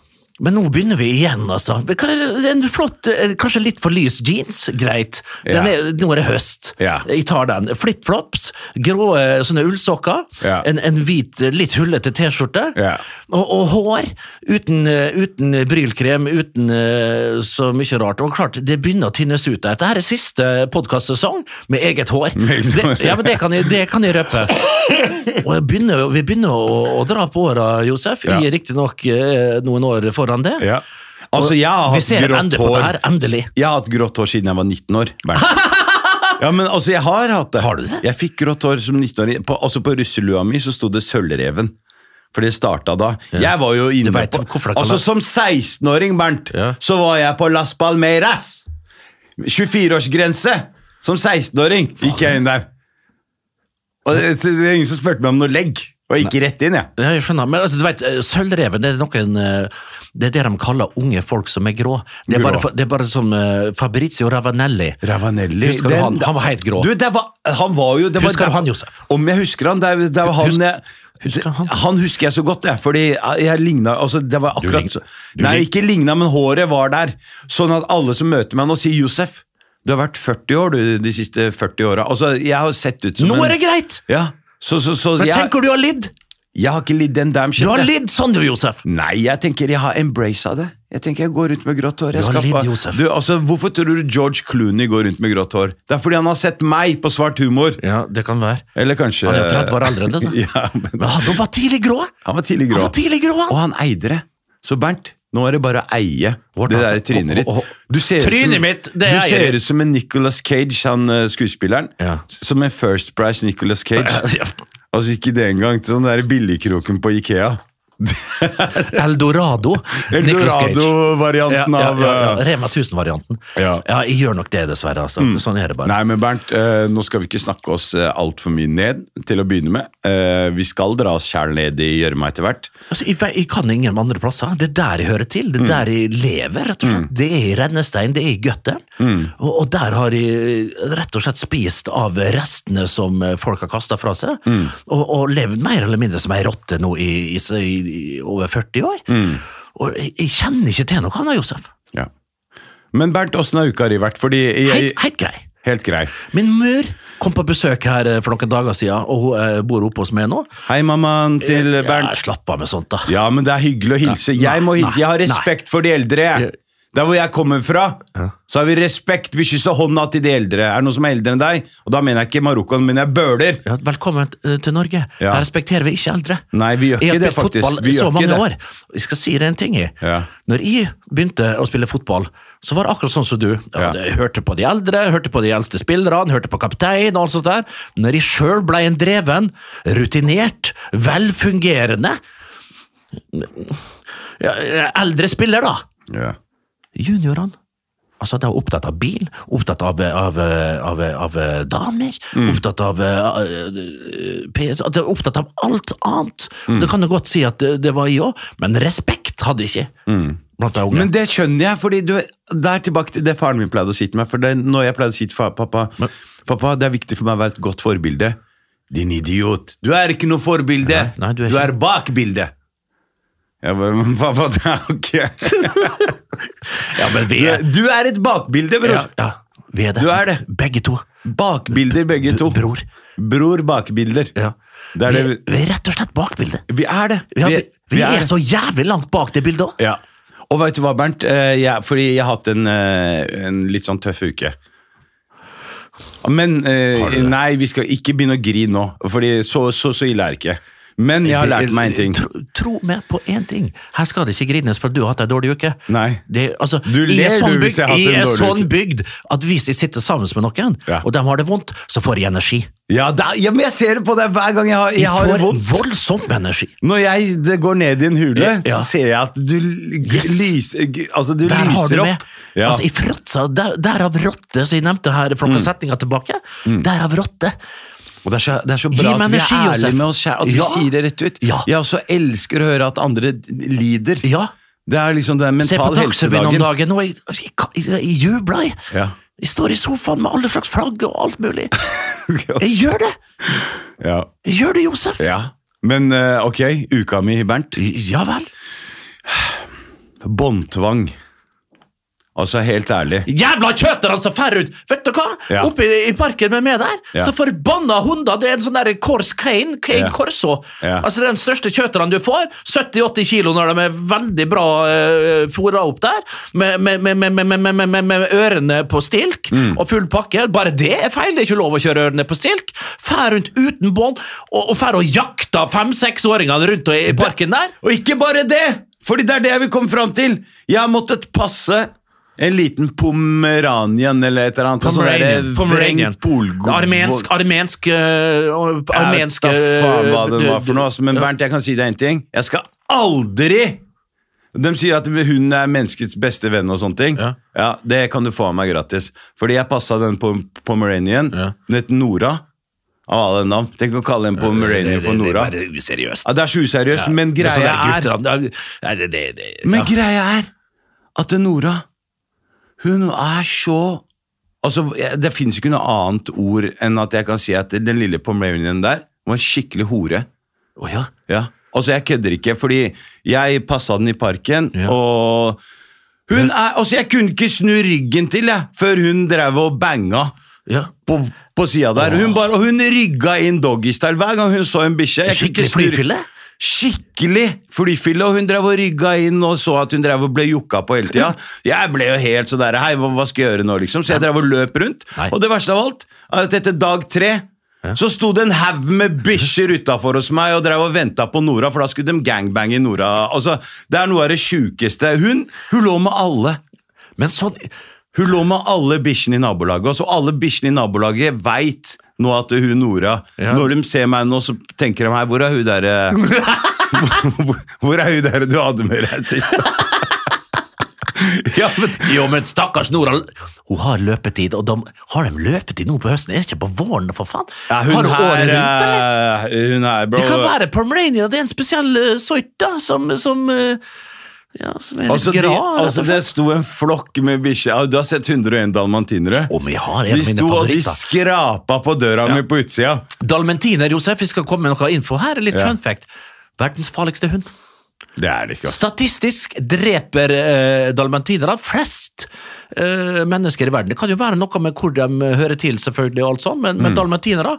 [SPEAKER 5] Men nå begynner vi igjen, altså. Men hva er det- En flott, eh, kanskje litt for lys jeans, greit. Den
[SPEAKER 4] Ja.
[SPEAKER 5] er, nå er det høst.
[SPEAKER 4] Ja.
[SPEAKER 5] Jeg tar den. Flipflops, grå eh, sånne ullsokker,
[SPEAKER 4] Ja.
[SPEAKER 5] en, en hvit, eh, litt hullete T-skjorte.
[SPEAKER 4] Ja.
[SPEAKER 5] Og, og hår uten, eh, uten brylkrem, uten eh, så mye rart. Og klart, det begynner å tynnes ut. Dette her er siste podkastsesong med eget hår.
[SPEAKER 4] eget hår.
[SPEAKER 5] Det, ja, men det kan jeg, det kan jeg røpe. Og jeg begynner, vi begynner å, å dra på åra, Josef.
[SPEAKER 4] Ja.
[SPEAKER 5] Vi er riktignok eh, noen år foran det.
[SPEAKER 4] Ja. Altså, jeg har
[SPEAKER 5] Vi
[SPEAKER 4] hatt
[SPEAKER 5] ser en
[SPEAKER 4] grått
[SPEAKER 5] ende på
[SPEAKER 4] hår
[SPEAKER 5] det her, endelig.
[SPEAKER 4] Jeg har hatt grått hår siden jeg var 19 år. Bernt.
[SPEAKER 5] *laughs*
[SPEAKER 4] Ja, men altså, jeg har hatt det.
[SPEAKER 5] Har du det?
[SPEAKER 4] Jeg fikk grått hår som 19-åring. På, altså, på russelua mi så sto det Sølvreven. For det starta da. Jeg var jo
[SPEAKER 5] Du
[SPEAKER 4] inne
[SPEAKER 5] vet
[SPEAKER 4] på
[SPEAKER 5] hvorfor det
[SPEAKER 4] Altså,
[SPEAKER 5] kalles-
[SPEAKER 4] som 16-åring, Bernt,
[SPEAKER 5] Ja.
[SPEAKER 4] så var jeg på Las Palmeras! 24-årsgrense! Som 16-åring gikk jeg inn der. Og det, det er ingen som spurte meg om noe legg. Og jeg gikk rett inn, jeg.
[SPEAKER 5] Ja, jeg skjønner, men altså, du vet, eh, Sølvreven det er noen eh, Det er det de kaller unge folk som er grå. Det er,
[SPEAKER 4] Grå.
[SPEAKER 5] Bare, for- det er bare som eh, Fabrizio Ravanelli.
[SPEAKER 4] Ravanelli
[SPEAKER 5] Husker du han? Han var helt grå.
[SPEAKER 4] Du, det var, han var jo det var,
[SPEAKER 5] Husker du
[SPEAKER 4] det-
[SPEAKER 5] han, Josef?
[SPEAKER 4] Om jeg husker han, det er, det er han
[SPEAKER 5] Husk-
[SPEAKER 4] jeg,
[SPEAKER 5] husker han?
[SPEAKER 4] husker jeg så godt, jeg, fordi jeg ligna altså, Det var akkurat
[SPEAKER 5] lign-
[SPEAKER 4] så-
[SPEAKER 5] du
[SPEAKER 4] Nei,
[SPEAKER 5] lign-
[SPEAKER 4] ikke ligna, men håret var der. Sånn at alle som møter meg nå, sier 'Josef'. Du har vært 40 år du, de siste 40 åra. Altså, jeg har sett ut som
[SPEAKER 5] Nå
[SPEAKER 4] en-
[SPEAKER 5] er det greit!
[SPEAKER 4] Ja, så, så, så,
[SPEAKER 5] Men
[SPEAKER 4] jeg,
[SPEAKER 5] tenk hvor du har lidd!
[SPEAKER 4] jeg har ikke lidd en damn shit.
[SPEAKER 5] Du har
[SPEAKER 4] jeg.
[SPEAKER 5] lidd sånn, du, Josef!
[SPEAKER 4] Nei, jeg tenker jeg har embraced det. Jeg tenker jeg går rundt med grått hår. Jeg
[SPEAKER 5] Du har
[SPEAKER 4] skal
[SPEAKER 5] lidd,
[SPEAKER 4] bare-
[SPEAKER 5] Josef.
[SPEAKER 4] Du, altså, hvorfor tror du George Clooney går rundt med grått hår? Det er fordi han har sett meg på Svart humor.
[SPEAKER 5] Ja, det kan være.
[SPEAKER 4] Eller kanskje
[SPEAKER 5] Han er jo 30 år eldre enn det, da.
[SPEAKER 4] *laughs* ja, men,
[SPEAKER 5] Men han var tidlig grå!
[SPEAKER 4] han var tidlig
[SPEAKER 5] Han
[SPEAKER 4] grå.
[SPEAKER 5] var tidlig grå,
[SPEAKER 4] Og
[SPEAKER 5] han!
[SPEAKER 4] han eide det. Så Bernt, nå er det bare å eie
[SPEAKER 5] Vårt
[SPEAKER 4] det
[SPEAKER 5] han-
[SPEAKER 4] der trynet ditt.
[SPEAKER 5] Å, å, å.
[SPEAKER 4] Du ser ut som-
[SPEAKER 5] Trynet mitt, det
[SPEAKER 4] Du
[SPEAKER 5] eier jeg.
[SPEAKER 4] ser ut som en Nicolas Cage, han eh, skuespilleren.
[SPEAKER 5] Ja.
[SPEAKER 4] Som en First Price Nicolas Cage.
[SPEAKER 5] *laughs* Ja,
[SPEAKER 4] Altså ikke det engang. Sånn der billigkroken på Ikea.
[SPEAKER 5] Eldorado. Nicolas Cage. Ja,
[SPEAKER 4] Eldorado-varianten
[SPEAKER 5] ja,
[SPEAKER 4] av
[SPEAKER 5] ja,
[SPEAKER 4] eh,
[SPEAKER 5] ja. Rema 1000-varianten.
[SPEAKER 4] Ja.
[SPEAKER 5] jeg gjør nok det, dessverre. Altså. Sånn er det bare.
[SPEAKER 4] Nei, men Bernt, eh, nå skal vi ikke snakke oss eh, altfor mye ned til å begynne med. Eh, vi skal dra oss sjæl ned i gjørma etter hvert.
[SPEAKER 5] Altså, jeg, ve- jeg kan ingen andre plasser. Det er der jeg hører til. Det er der jeg lever, rett og slett. Det er i rennestein, det er i Gøtteren. Og, og der har jeg eh, rett og slett spist av restene som eh, folk har kasta fra seg, og, og levd mer eller mindre som ei rotte nå i, i, s- i, i over 40 år. Og jeg, jeg kjenner ikke til noe annet, Josef.
[SPEAKER 4] Ja. Men Bernt, åssen har uka di vært? Fordi jeg,
[SPEAKER 5] Helt, helt grei.
[SPEAKER 4] Helt grei.
[SPEAKER 5] Min mor kom på besøk her eh, for noen dager siden, og hun eh, bor oppe hos meg nå.
[SPEAKER 4] Hei, mammaen til
[SPEAKER 5] Ja,
[SPEAKER 4] Bernt.
[SPEAKER 5] slapp av med sånt, da.
[SPEAKER 4] Ja, men det er hyggelig å hilse. Jeg må
[SPEAKER 5] Nei,
[SPEAKER 4] hilse. Jeg har
[SPEAKER 5] nei.
[SPEAKER 4] respekt for de eldre. jeg. Der hvor jeg kommer fra, så har vi respekt. Vi kysser hånda til de eldre. Er det noen som er eldre enn deg? Og da mener jeg ikke Marokkoen, men jeg bøler.
[SPEAKER 5] Ja, velkommen eh, til Norge.
[SPEAKER 4] Ja.
[SPEAKER 5] Her respekterer vi ikke eldre.
[SPEAKER 4] Nei, vi gjør
[SPEAKER 5] jeg har
[SPEAKER 4] ikke det,
[SPEAKER 5] spilt
[SPEAKER 4] faktisk.
[SPEAKER 5] fotball
[SPEAKER 4] Vi
[SPEAKER 5] i så
[SPEAKER 4] gjør ikke
[SPEAKER 5] mange
[SPEAKER 4] det.
[SPEAKER 5] år. Jeg skal si deg en ting. Jeg.
[SPEAKER 4] Ja.
[SPEAKER 5] Når jeg begynte å spille fotball, så var det akkurat sånn som du. Jeg,
[SPEAKER 4] Ja.
[SPEAKER 5] hadde- jeg hørte på de eldre, jeg hørte på de eldste spillerne, jeg hørte på kaptein og alt sånt der. Når jeg sjøl blei en dreven, rutinert, velfungerende ja, Eldre spiller, da
[SPEAKER 4] Ja.
[SPEAKER 5] juniorene. Altså, de er opptatt av bil, opptatt av, av, av, av damer,
[SPEAKER 4] Mm.
[SPEAKER 5] opptatt av eh, eh, PS, at de er opptatt av alt annet.
[SPEAKER 4] Mm.
[SPEAKER 5] Det kan du godt si at det, det var jeg òg, men respekt hadde jeg ikke blant de unge.
[SPEAKER 4] Mm. Men det skjønner jeg, fordi du, det er tilbake til det faren min pleide å si til meg. For det, når jeg pleide å si til fa- pappa Pappa, det er viktig for meg å være et godt forbilde. Din idiot! Du er ikke noe forbilde!
[SPEAKER 5] Nei, nei, du er
[SPEAKER 4] du
[SPEAKER 5] ikke-
[SPEAKER 4] er bak bildet! Jeg bare, men *laughs* pappa, det er ok.
[SPEAKER 5] ja, men vi
[SPEAKER 4] Du
[SPEAKER 5] er,
[SPEAKER 4] er, du er et bakbilde, bror!
[SPEAKER 5] ja, ja, vi er det.
[SPEAKER 4] Du er det.
[SPEAKER 5] Begge to.
[SPEAKER 4] Bakbilder, begge to.
[SPEAKER 5] Bror.
[SPEAKER 4] Bror, bakbilder.
[SPEAKER 5] Ja.
[SPEAKER 4] Det er
[SPEAKER 5] vi,
[SPEAKER 4] det
[SPEAKER 5] vi er rett og slett bak bildet.
[SPEAKER 4] vi- Vi er det!
[SPEAKER 5] Vi, har- vi, vi er,
[SPEAKER 4] det.
[SPEAKER 5] så jævlig langt bak det bildet òg.
[SPEAKER 4] Ja. Og veit du hva, Bernt? Eh, Jeg, fordi jeg har hatt en, eh, en litt sånn tøff uke. Men eh,
[SPEAKER 5] Har du det?
[SPEAKER 4] Nei, vi skal ikke begynne å grine nå, Fordi så, så, så ille er det ikke. Men jeg har lært meg en ting.
[SPEAKER 5] Tro, tro meg på én ting. Her skal det ikke grines for du har hatt ei dårlig uke.
[SPEAKER 4] Nei.
[SPEAKER 5] Det, altså,
[SPEAKER 4] Du
[SPEAKER 5] jeg
[SPEAKER 4] ler,
[SPEAKER 5] er
[SPEAKER 4] du,
[SPEAKER 5] sånn
[SPEAKER 4] hvis
[SPEAKER 5] bygd,
[SPEAKER 4] jeg har hatt en
[SPEAKER 5] jeg er
[SPEAKER 4] dårlig
[SPEAKER 5] sånn
[SPEAKER 4] uke.
[SPEAKER 5] bygd at hvis jeg sitter sammen med noen,
[SPEAKER 4] Ja.
[SPEAKER 5] og de har det vondt, så får jeg energi.
[SPEAKER 4] Ja, det er- ja, men jeg ser det på deg hver gang jeg har, jeg har det
[SPEAKER 5] får
[SPEAKER 4] vondt.
[SPEAKER 5] voldsomt med energi.
[SPEAKER 4] Når jeg det går ned i en hule,
[SPEAKER 5] Ja.
[SPEAKER 4] så ser jeg at du l- g-
[SPEAKER 5] Yes.
[SPEAKER 4] lyser g- Altså, du
[SPEAKER 5] Der har du
[SPEAKER 4] lyser
[SPEAKER 5] med.
[SPEAKER 4] opp. Ja.
[SPEAKER 5] Altså, i fråtsa, der, derav rotte, som jeg nevnte her for noen
[SPEAKER 4] Mm.
[SPEAKER 5] setninger tilbake. Derav rotte.
[SPEAKER 4] Og det er, så, det er så
[SPEAKER 5] Gi
[SPEAKER 4] bra
[SPEAKER 5] meg
[SPEAKER 4] at vi er
[SPEAKER 5] energi,
[SPEAKER 4] ærlige
[SPEAKER 5] Josef.
[SPEAKER 4] med oss selv, at vi
[SPEAKER 5] Ja.
[SPEAKER 4] sier det rett ut.
[SPEAKER 5] Ja.
[SPEAKER 4] Jeg også elsker å høre at andre lider.
[SPEAKER 5] Ja.
[SPEAKER 4] Det er liksom den
[SPEAKER 5] Se på
[SPEAKER 4] mental
[SPEAKER 5] Dagsrevyen om
[SPEAKER 4] helsedagen.
[SPEAKER 5] dagen, og jeg, jeg, jeg, jeg jubler. Jeg.
[SPEAKER 4] Ja.
[SPEAKER 5] jeg står i sofaen med alle slags flagg og alt
[SPEAKER 4] *laughs*
[SPEAKER 5] mulig. Jeg gjør det!
[SPEAKER 4] ja.
[SPEAKER 5] Jeg gjør det, Josef!
[SPEAKER 4] ja. Men eh, ok, uka mi, Bernt.
[SPEAKER 5] Ja vel.
[SPEAKER 4] Båndtvang. Altså, helt ærlig.
[SPEAKER 5] Jævla kjøterne som fer ut! Vet du hva?
[SPEAKER 4] Ja.
[SPEAKER 5] Oppe i, i parken med meg der,
[SPEAKER 4] Ja.
[SPEAKER 5] så forbanna hunder! Det er en sånn der Kors Kane, Kane
[SPEAKER 4] Ja.
[SPEAKER 5] Corso.
[SPEAKER 4] Ja.
[SPEAKER 5] Altså det er den største kjøterne du får. 70-80 kilo når de er veldig bra uh, fôra opp der, med, med, med, med, med, med, med, med, med ørene på stilk
[SPEAKER 4] Mm.
[SPEAKER 5] og full pakke. Bare det er feil, det er ikke lov å kjøre ørene på stilk. Fer rundt uten bånd, og, og fer og jakter fem-seksåringene rundt og i, i parken der.
[SPEAKER 4] Og ikke bare det! Fordi det er det vi kom fram til! Jeg har måttet passe en liten pomeranian eller et eller annet. og sånn derre
[SPEAKER 5] Pomeranian. Pomeranian.
[SPEAKER 4] vrengt polgo-
[SPEAKER 5] Armensk, armensk, øh, og- armensk
[SPEAKER 4] Jeg vet da faen hva
[SPEAKER 5] øh,
[SPEAKER 4] den var for noe, altså, men Bernt, jeg kan si deg en ting. Jeg skal aldri De sier at hun er menneskets beste venn og sånne ting.
[SPEAKER 5] Ja.
[SPEAKER 4] Det kan du få av meg gratis. Fordi jeg passa den på Pomeranian.
[SPEAKER 5] Ja.
[SPEAKER 4] Den het Nora. Av alle navn. Tenk å kalle en Pomeranian for Nora.
[SPEAKER 5] Det er bare useriøst.
[SPEAKER 4] Ja, det er så useriøst, men greia er
[SPEAKER 5] Nei, det, det, det,
[SPEAKER 4] Men
[SPEAKER 5] sånn ja.
[SPEAKER 4] greia er at Nora, hun er så Altså, jeg- Det fins ikke noe annet ord enn at jeg kan si at den lille Pomeranian der var en skikkelig hore.
[SPEAKER 5] Å, ja.
[SPEAKER 4] Ja. Altså, jeg kødder ikke, fordi jeg passa den i parken,
[SPEAKER 5] Ja.
[SPEAKER 4] og hun er, altså, Jeg kunne ikke snu ryggen til jeg, før hun drev og banga
[SPEAKER 5] ja.
[SPEAKER 4] på, på sida der. Hun bare, og hun rygga inn doggystyle hver gang hun så en bikkje. Jeg kunne
[SPEAKER 5] Skikkelig
[SPEAKER 4] ikke snu-
[SPEAKER 5] flyfille?
[SPEAKER 4] Skikkelig flyfille, og hun drev og rygga inn og så at hun drev og ble jokka på hele tida.
[SPEAKER 5] Mm.
[SPEAKER 4] Jeg ble jo helt sånn der Hei, hva, hva skal jeg gjøre nå, liksom? Så jeg drev og løp rundt.
[SPEAKER 5] Nei.
[SPEAKER 4] Og det verste av alt er at etter dag tre så sto det en haug med bikkjer utafor hos meg og drev og venta på Nora, for da skulle de gangbange Nora. Altså, Det er noe av det sjukeste. Hun, hun lå med alle.
[SPEAKER 5] Men sånn
[SPEAKER 4] Hun lå med alle bikkjene i nabolaget, og så alle bikkjene i nabolaget veit nå at hun Nora
[SPEAKER 5] Ja.
[SPEAKER 4] Når de ser meg nå, så tenker de her Hvor er hun
[SPEAKER 5] *laughs*
[SPEAKER 4] der eh, *laughs* hvor, hvor er hun der du hadde med deg sist? *laughs* ja, men
[SPEAKER 5] Jo, men stakkars Nora. Hun har løpetid, og de, har de løpetid nå på høsten? Er det ikke på våren, for faen?
[SPEAKER 4] ja, hun,
[SPEAKER 5] har hun året
[SPEAKER 4] her,
[SPEAKER 5] rundt, eller?
[SPEAKER 4] eh, hun her, bro
[SPEAKER 5] Det kan være Pomerania, det er en spesiell uh, sort da, som, som øh, ja, som er litt
[SPEAKER 4] Altså, de,
[SPEAKER 5] gra.
[SPEAKER 4] altså, det sto en flokk med bikkjer Ja, Du har sett 101 dalmantinere?
[SPEAKER 5] Om jeg har en
[SPEAKER 4] De
[SPEAKER 5] av mine
[SPEAKER 4] sto og de
[SPEAKER 5] favoritter.
[SPEAKER 4] skrapa på døra mi på utsida.
[SPEAKER 5] Dalmentiner, Josef, vi skal komme med noe info her. Litt
[SPEAKER 4] Ja.
[SPEAKER 5] fun fact. Verdens farligste hund.
[SPEAKER 4] Det er det ikke, altså.
[SPEAKER 5] Statistisk dreper eh, dalmentinere flest eh, mennesker i verden. Det kan jo være noe med hvor de eh, hører til, selvfølgelig, og alt sånt, men,
[SPEAKER 4] Mm.
[SPEAKER 5] men dalmentinere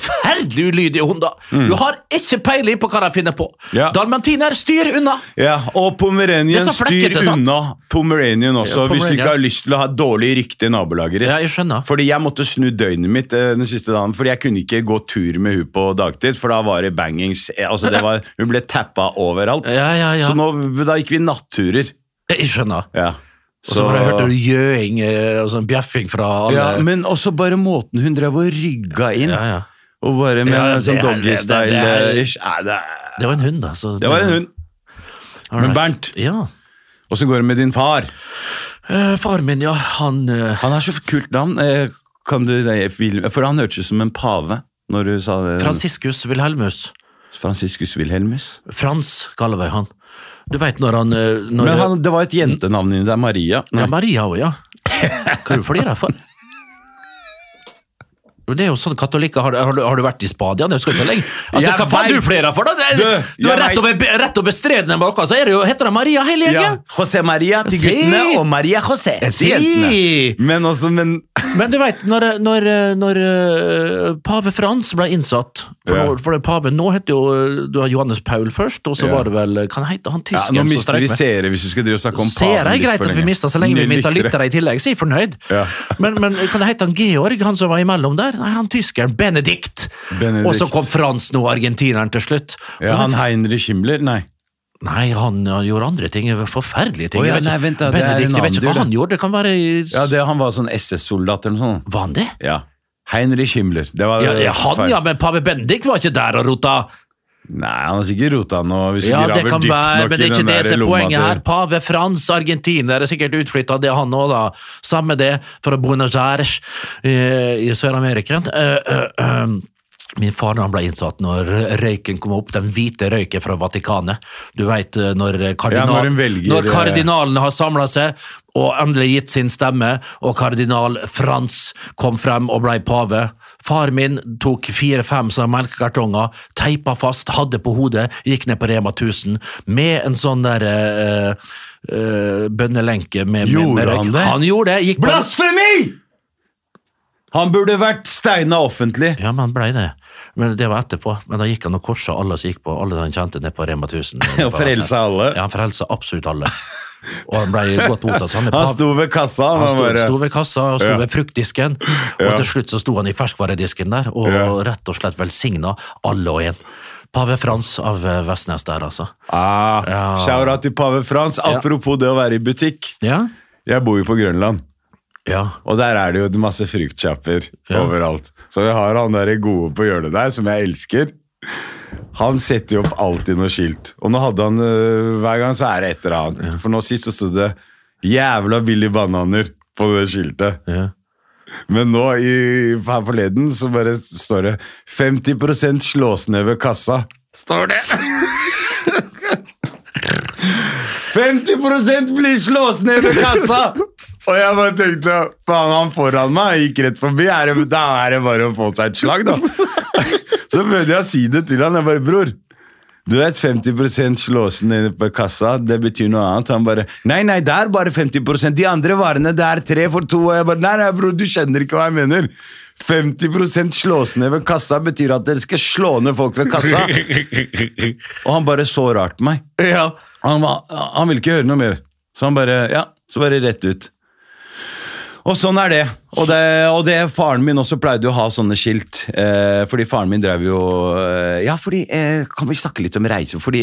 [SPEAKER 5] Forferdelig ulydige hunder! Du har ikke peiling på hva de finner på!
[SPEAKER 4] Ja.
[SPEAKER 5] Dalmentiner, styr unna!
[SPEAKER 4] Ja,
[SPEAKER 5] Det
[SPEAKER 4] og
[SPEAKER 5] er
[SPEAKER 4] Pomeranian
[SPEAKER 5] så flekkete,
[SPEAKER 4] styr
[SPEAKER 5] sant?
[SPEAKER 4] unna Pomeranian også,
[SPEAKER 5] Ja,
[SPEAKER 4] hvis du
[SPEAKER 5] Pomeranian.
[SPEAKER 4] ikke har lyst til å ha dårlig rykte i nabolaget ditt.
[SPEAKER 5] Ja, jeg skjønner.
[SPEAKER 4] Fordi jeg måtte snu døgnet mitt eh, den siste dagen, fordi jeg kunne ikke gå tur med hun på dagtid, for da var det bangings. Eh, Altså, det var, hun ble tappa overalt.
[SPEAKER 5] Ja, ja, ja.
[SPEAKER 4] Så nå, da gikk vi natturer.
[SPEAKER 5] Jeg skjønner.
[SPEAKER 4] Ja.
[SPEAKER 5] Og så bare hørte du gjøing eh, og sånn bjeffing fra alle.
[SPEAKER 4] ja, men også bare måten hun drev og rygga inn,
[SPEAKER 5] ja, ja.
[SPEAKER 4] og bare med
[SPEAKER 5] Ja, det
[SPEAKER 4] sånn
[SPEAKER 5] er- det- det- det er-
[SPEAKER 4] doggystyle-ish. Nei, det, er-
[SPEAKER 5] Det var en hund, da. Så
[SPEAKER 4] det var en hund.
[SPEAKER 5] All
[SPEAKER 4] Men
[SPEAKER 5] right.
[SPEAKER 4] Bernt,
[SPEAKER 5] Ja.
[SPEAKER 4] åssen går det med din far?
[SPEAKER 5] Eh, far min, ja, han eh,
[SPEAKER 4] Han har så kult navn. Eh, Kan du, nei, Vil- for han hørtes ut som en pave når du sa det.
[SPEAKER 5] Franciscus Wilhelmus.
[SPEAKER 4] Franciscus Wilhelmus.
[SPEAKER 5] Frans Gallevøy, han. Du veit når han eh, når,
[SPEAKER 4] Men han, det var et jentenavn inni der. Maria.
[SPEAKER 5] Ja,
[SPEAKER 4] Nei.
[SPEAKER 5] Maria òg, ja. Hva er du flirer for? Jo, Det er jo sånn katolikker har, har, du- har du vært i Spadia? Det skal ikke lenge. Altså,
[SPEAKER 4] Jeg
[SPEAKER 5] hva faen
[SPEAKER 4] vet-
[SPEAKER 5] du flirer for, da? Det,
[SPEAKER 4] Du,
[SPEAKER 5] du, er
[SPEAKER 4] jeg
[SPEAKER 5] rett over, rett over streden her bak, så er det jo, heter det Maria hele
[SPEAKER 4] Ja,
[SPEAKER 5] gjengen!
[SPEAKER 4] José Maria til
[SPEAKER 5] Fy!
[SPEAKER 4] guttene og Maria José til jentene.
[SPEAKER 5] Fy!
[SPEAKER 4] Men også, men
[SPEAKER 5] Men du veit, når, når, når eh, pave Frans ble innsatt For,
[SPEAKER 4] Ja.
[SPEAKER 5] nå, for det paven nå heter jo eh, Du har Johannes Paul først, og så
[SPEAKER 4] Ja.
[SPEAKER 5] var det vel eh, Kan heter han
[SPEAKER 4] ja,
[SPEAKER 5] tyskeren
[SPEAKER 4] Nå
[SPEAKER 5] som
[SPEAKER 4] mister
[SPEAKER 5] streik
[SPEAKER 4] vi
[SPEAKER 5] med?
[SPEAKER 4] seere hvis du skal drive og snakke om
[SPEAKER 5] Ser
[SPEAKER 4] paven
[SPEAKER 5] jeg
[SPEAKER 4] litt
[SPEAKER 5] greit
[SPEAKER 4] for
[SPEAKER 5] at vi
[SPEAKER 4] lenge.
[SPEAKER 5] mister så lenge vi
[SPEAKER 4] Nye
[SPEAKER 5] mister
[SPEAKER 4] lyttere.
[SPEAKER 5] lyttere i tillegg, så jeg er fornøyd.
[SPEAKER 4] Ja.
[SPEAKER 5] men, men kan det hete han Georg, han som var imellom der? Nei, han tyskeren. Benedikt.
[SPEAKER 4] Benedikt.
[SPEAKER 5] Og så kom Frans nå, argentineren, til slutt.
[SPEAKER 4] Ja, han
[SPEAKER 5] Men-
[SPEAKER 4] Heinrich Himmler, nei.
[SPEAKER 5] Nei, han, han gjorde andre ting. Forferdelige ting.
[SPEAKER 4] Å ja,
[SPEAKER 5] Jeg vet
[SPEAKER 4] nei,
[SPEAKER 5] ikke-
[SPEAKER 4] vent da, det er en
[SPEAKER 5] Benedikt, jeg vet
[SPEAKER 4] annen
[SPEAKER 5] ikke hva
[SPEAKER 4] del,
[SPEAKER 5] han gjorde. Det kan være i-
[SPEAKER 4] Ja, det, Han var sånn SS-soldat eller noe sånt.
[SPEAKER 5] Var han det?
[SPEAKER 4] Ja. Heinrich Himmler. Det var
[SPEAKER 5] Ja, ja, han,
[SPEAKER 4] feil.
[SPEAKER 5] ja, men pave Benedikt var ikke der og rota.
[SPEAKER 4] Nei, han har sikkert rota noe. Hvis du
[SPEAKER 5] Ja, det
[SPEAKER 4] graver
[SPEAKER 5] kan
[SPEAKER 4] dypt
[SPEAKER 5] være,
[SPEAKER 4] nok
[SPEAKER 5] men
[SPEAKER 4] i
[SPEAKER 5] det er ikke
[SPEAKER 4] den
[SPEAKER 5] det
[SPEAKER 4] der
[SPEAKER 5] som er
[SPEAKER 4] lomma
[SPEAKER 5] poenget
[SPEAKER 4] til-
[SPEAKER 5] her. Pave Frans, argentiner, er sikkert utflytta, det han òg, da. Samme det fra Buenos Aires eh, i Sør-Amerika. Eh, eh, eh, Min far da han ble innsatt når røyken kom opp, den hvite røyken fra Vatikanet. Du vet eh, når, kardinal,
[SPEAKER 4] Ja, når en velger- eh,
[SPEAKER 5] når kardinalene har samla seg og endelig gitt sin stemme, og kardinal Frans kom frem og ble pave. Far min tok fire-fem sånne melkekartonger, teipa fast, hadde på hodet, gikk ned på Rema 1000 med en sånn der eh, eh, bønnelenke med, med, med
[SPEAKER 4] Gjorde
[SPEAKER 5] røyk.
[SPEAKER 4] han det?
[SPEAKER 5] Han gjorde det! Gikk på-
[SPEAKER 4] Blasfemi! Han burde vært steina offentlig.
[SPEAKER 5] Ja, men han blei det. Men det var etterpå. Men da gikk han og korsa alle som gikk på, alle han kjente ned på Rema
[SPEAKER 4] *laughs*
[SPEAKER 5] 1000.
[SPEAKER 4] Og frelsa alle.
[SPEAKER 5] Ja, han frelsa absolutt alle. Og han blei godt mottatt. så Han, er
[SPEAKER 4] Han
[SPEAKER 5] pav-
[SPEAKER 4] sto ved kassa.
[SPEAKER 5] han
[SPEAKER 4] Han
[SPEAKER 5] sto,
[SPEAKER 4] bare,
[SPEAKER 5] sto ved kassa og sto
[SPEAKER 4] Ja.
[SPEAKER 5] ved fruktdisken, og til slutt så sto han i ferskvaredisken der og rett og slett velsigna alle og en. Pave Frans av eh, Vestnes der, altså.
[SPEAKER 4] ah,
[SPEAKER 5] Ja.
[SPEAKER 4] Shout-out til pave Frans. Apropos det å være i butikk.
[SPEAKER 5] Ja.
[SPEAKER 4] Jeg bor jo på Grønland.
[SPEAKER 5] Ja.
[SPEAKER 4] Og der er det jo masse fruktkjapper
[SPEAKER 5] Ja.
[SPEAKER 4] overalt. Så vi har han der gode på hjørnet der, som jeg elsker. Han setter jo opp alltid noe skilt. Og nå hadde han øh, hver gang så er det et eller annet. For nå sist så sto det 'Jævla billige bananer' på det skiltet.
[SPEAKER 5] ja.
[SPEAKER 4] Men nå i, her forleden så bare står det 50 slås ned ved kassa. Står det! *laughs* 50 blir slås ned ved kassa!
[SPEAKER 5] *laughs*
[SPEAKER 4] Og jeg bare tenkte faen, han foran meg gikk rett forbi. Er det, da er det bare å få seg et slag, da. Så prøvde jeg å si det til han. Jeg bare Bror, du vet 50 slås ned på kassa, det betyr noe annet. Han bare Nei, nei, det er bare 50 De andre varene, det er tre for to. Og jeg bare Nei, nei, bror, du skjønner ikke hva jeg mener. 50 slås ned ved kassa betyr at dere skal slå ned folk ved kassa. Og han bare så rart på meg.
[SPEAKER 5] ja.
[SPEAKER 4] Han, var, han ville ikke høre noe mer. Så han bare Ja, så bare rett ut. Og sånn er det. Og det, og det faren min også pleide å ha sånne skilt. Eh, fordi faren min drev jo eh, Ja, fordi eh, Kan vi snakke litt om reise? Fordi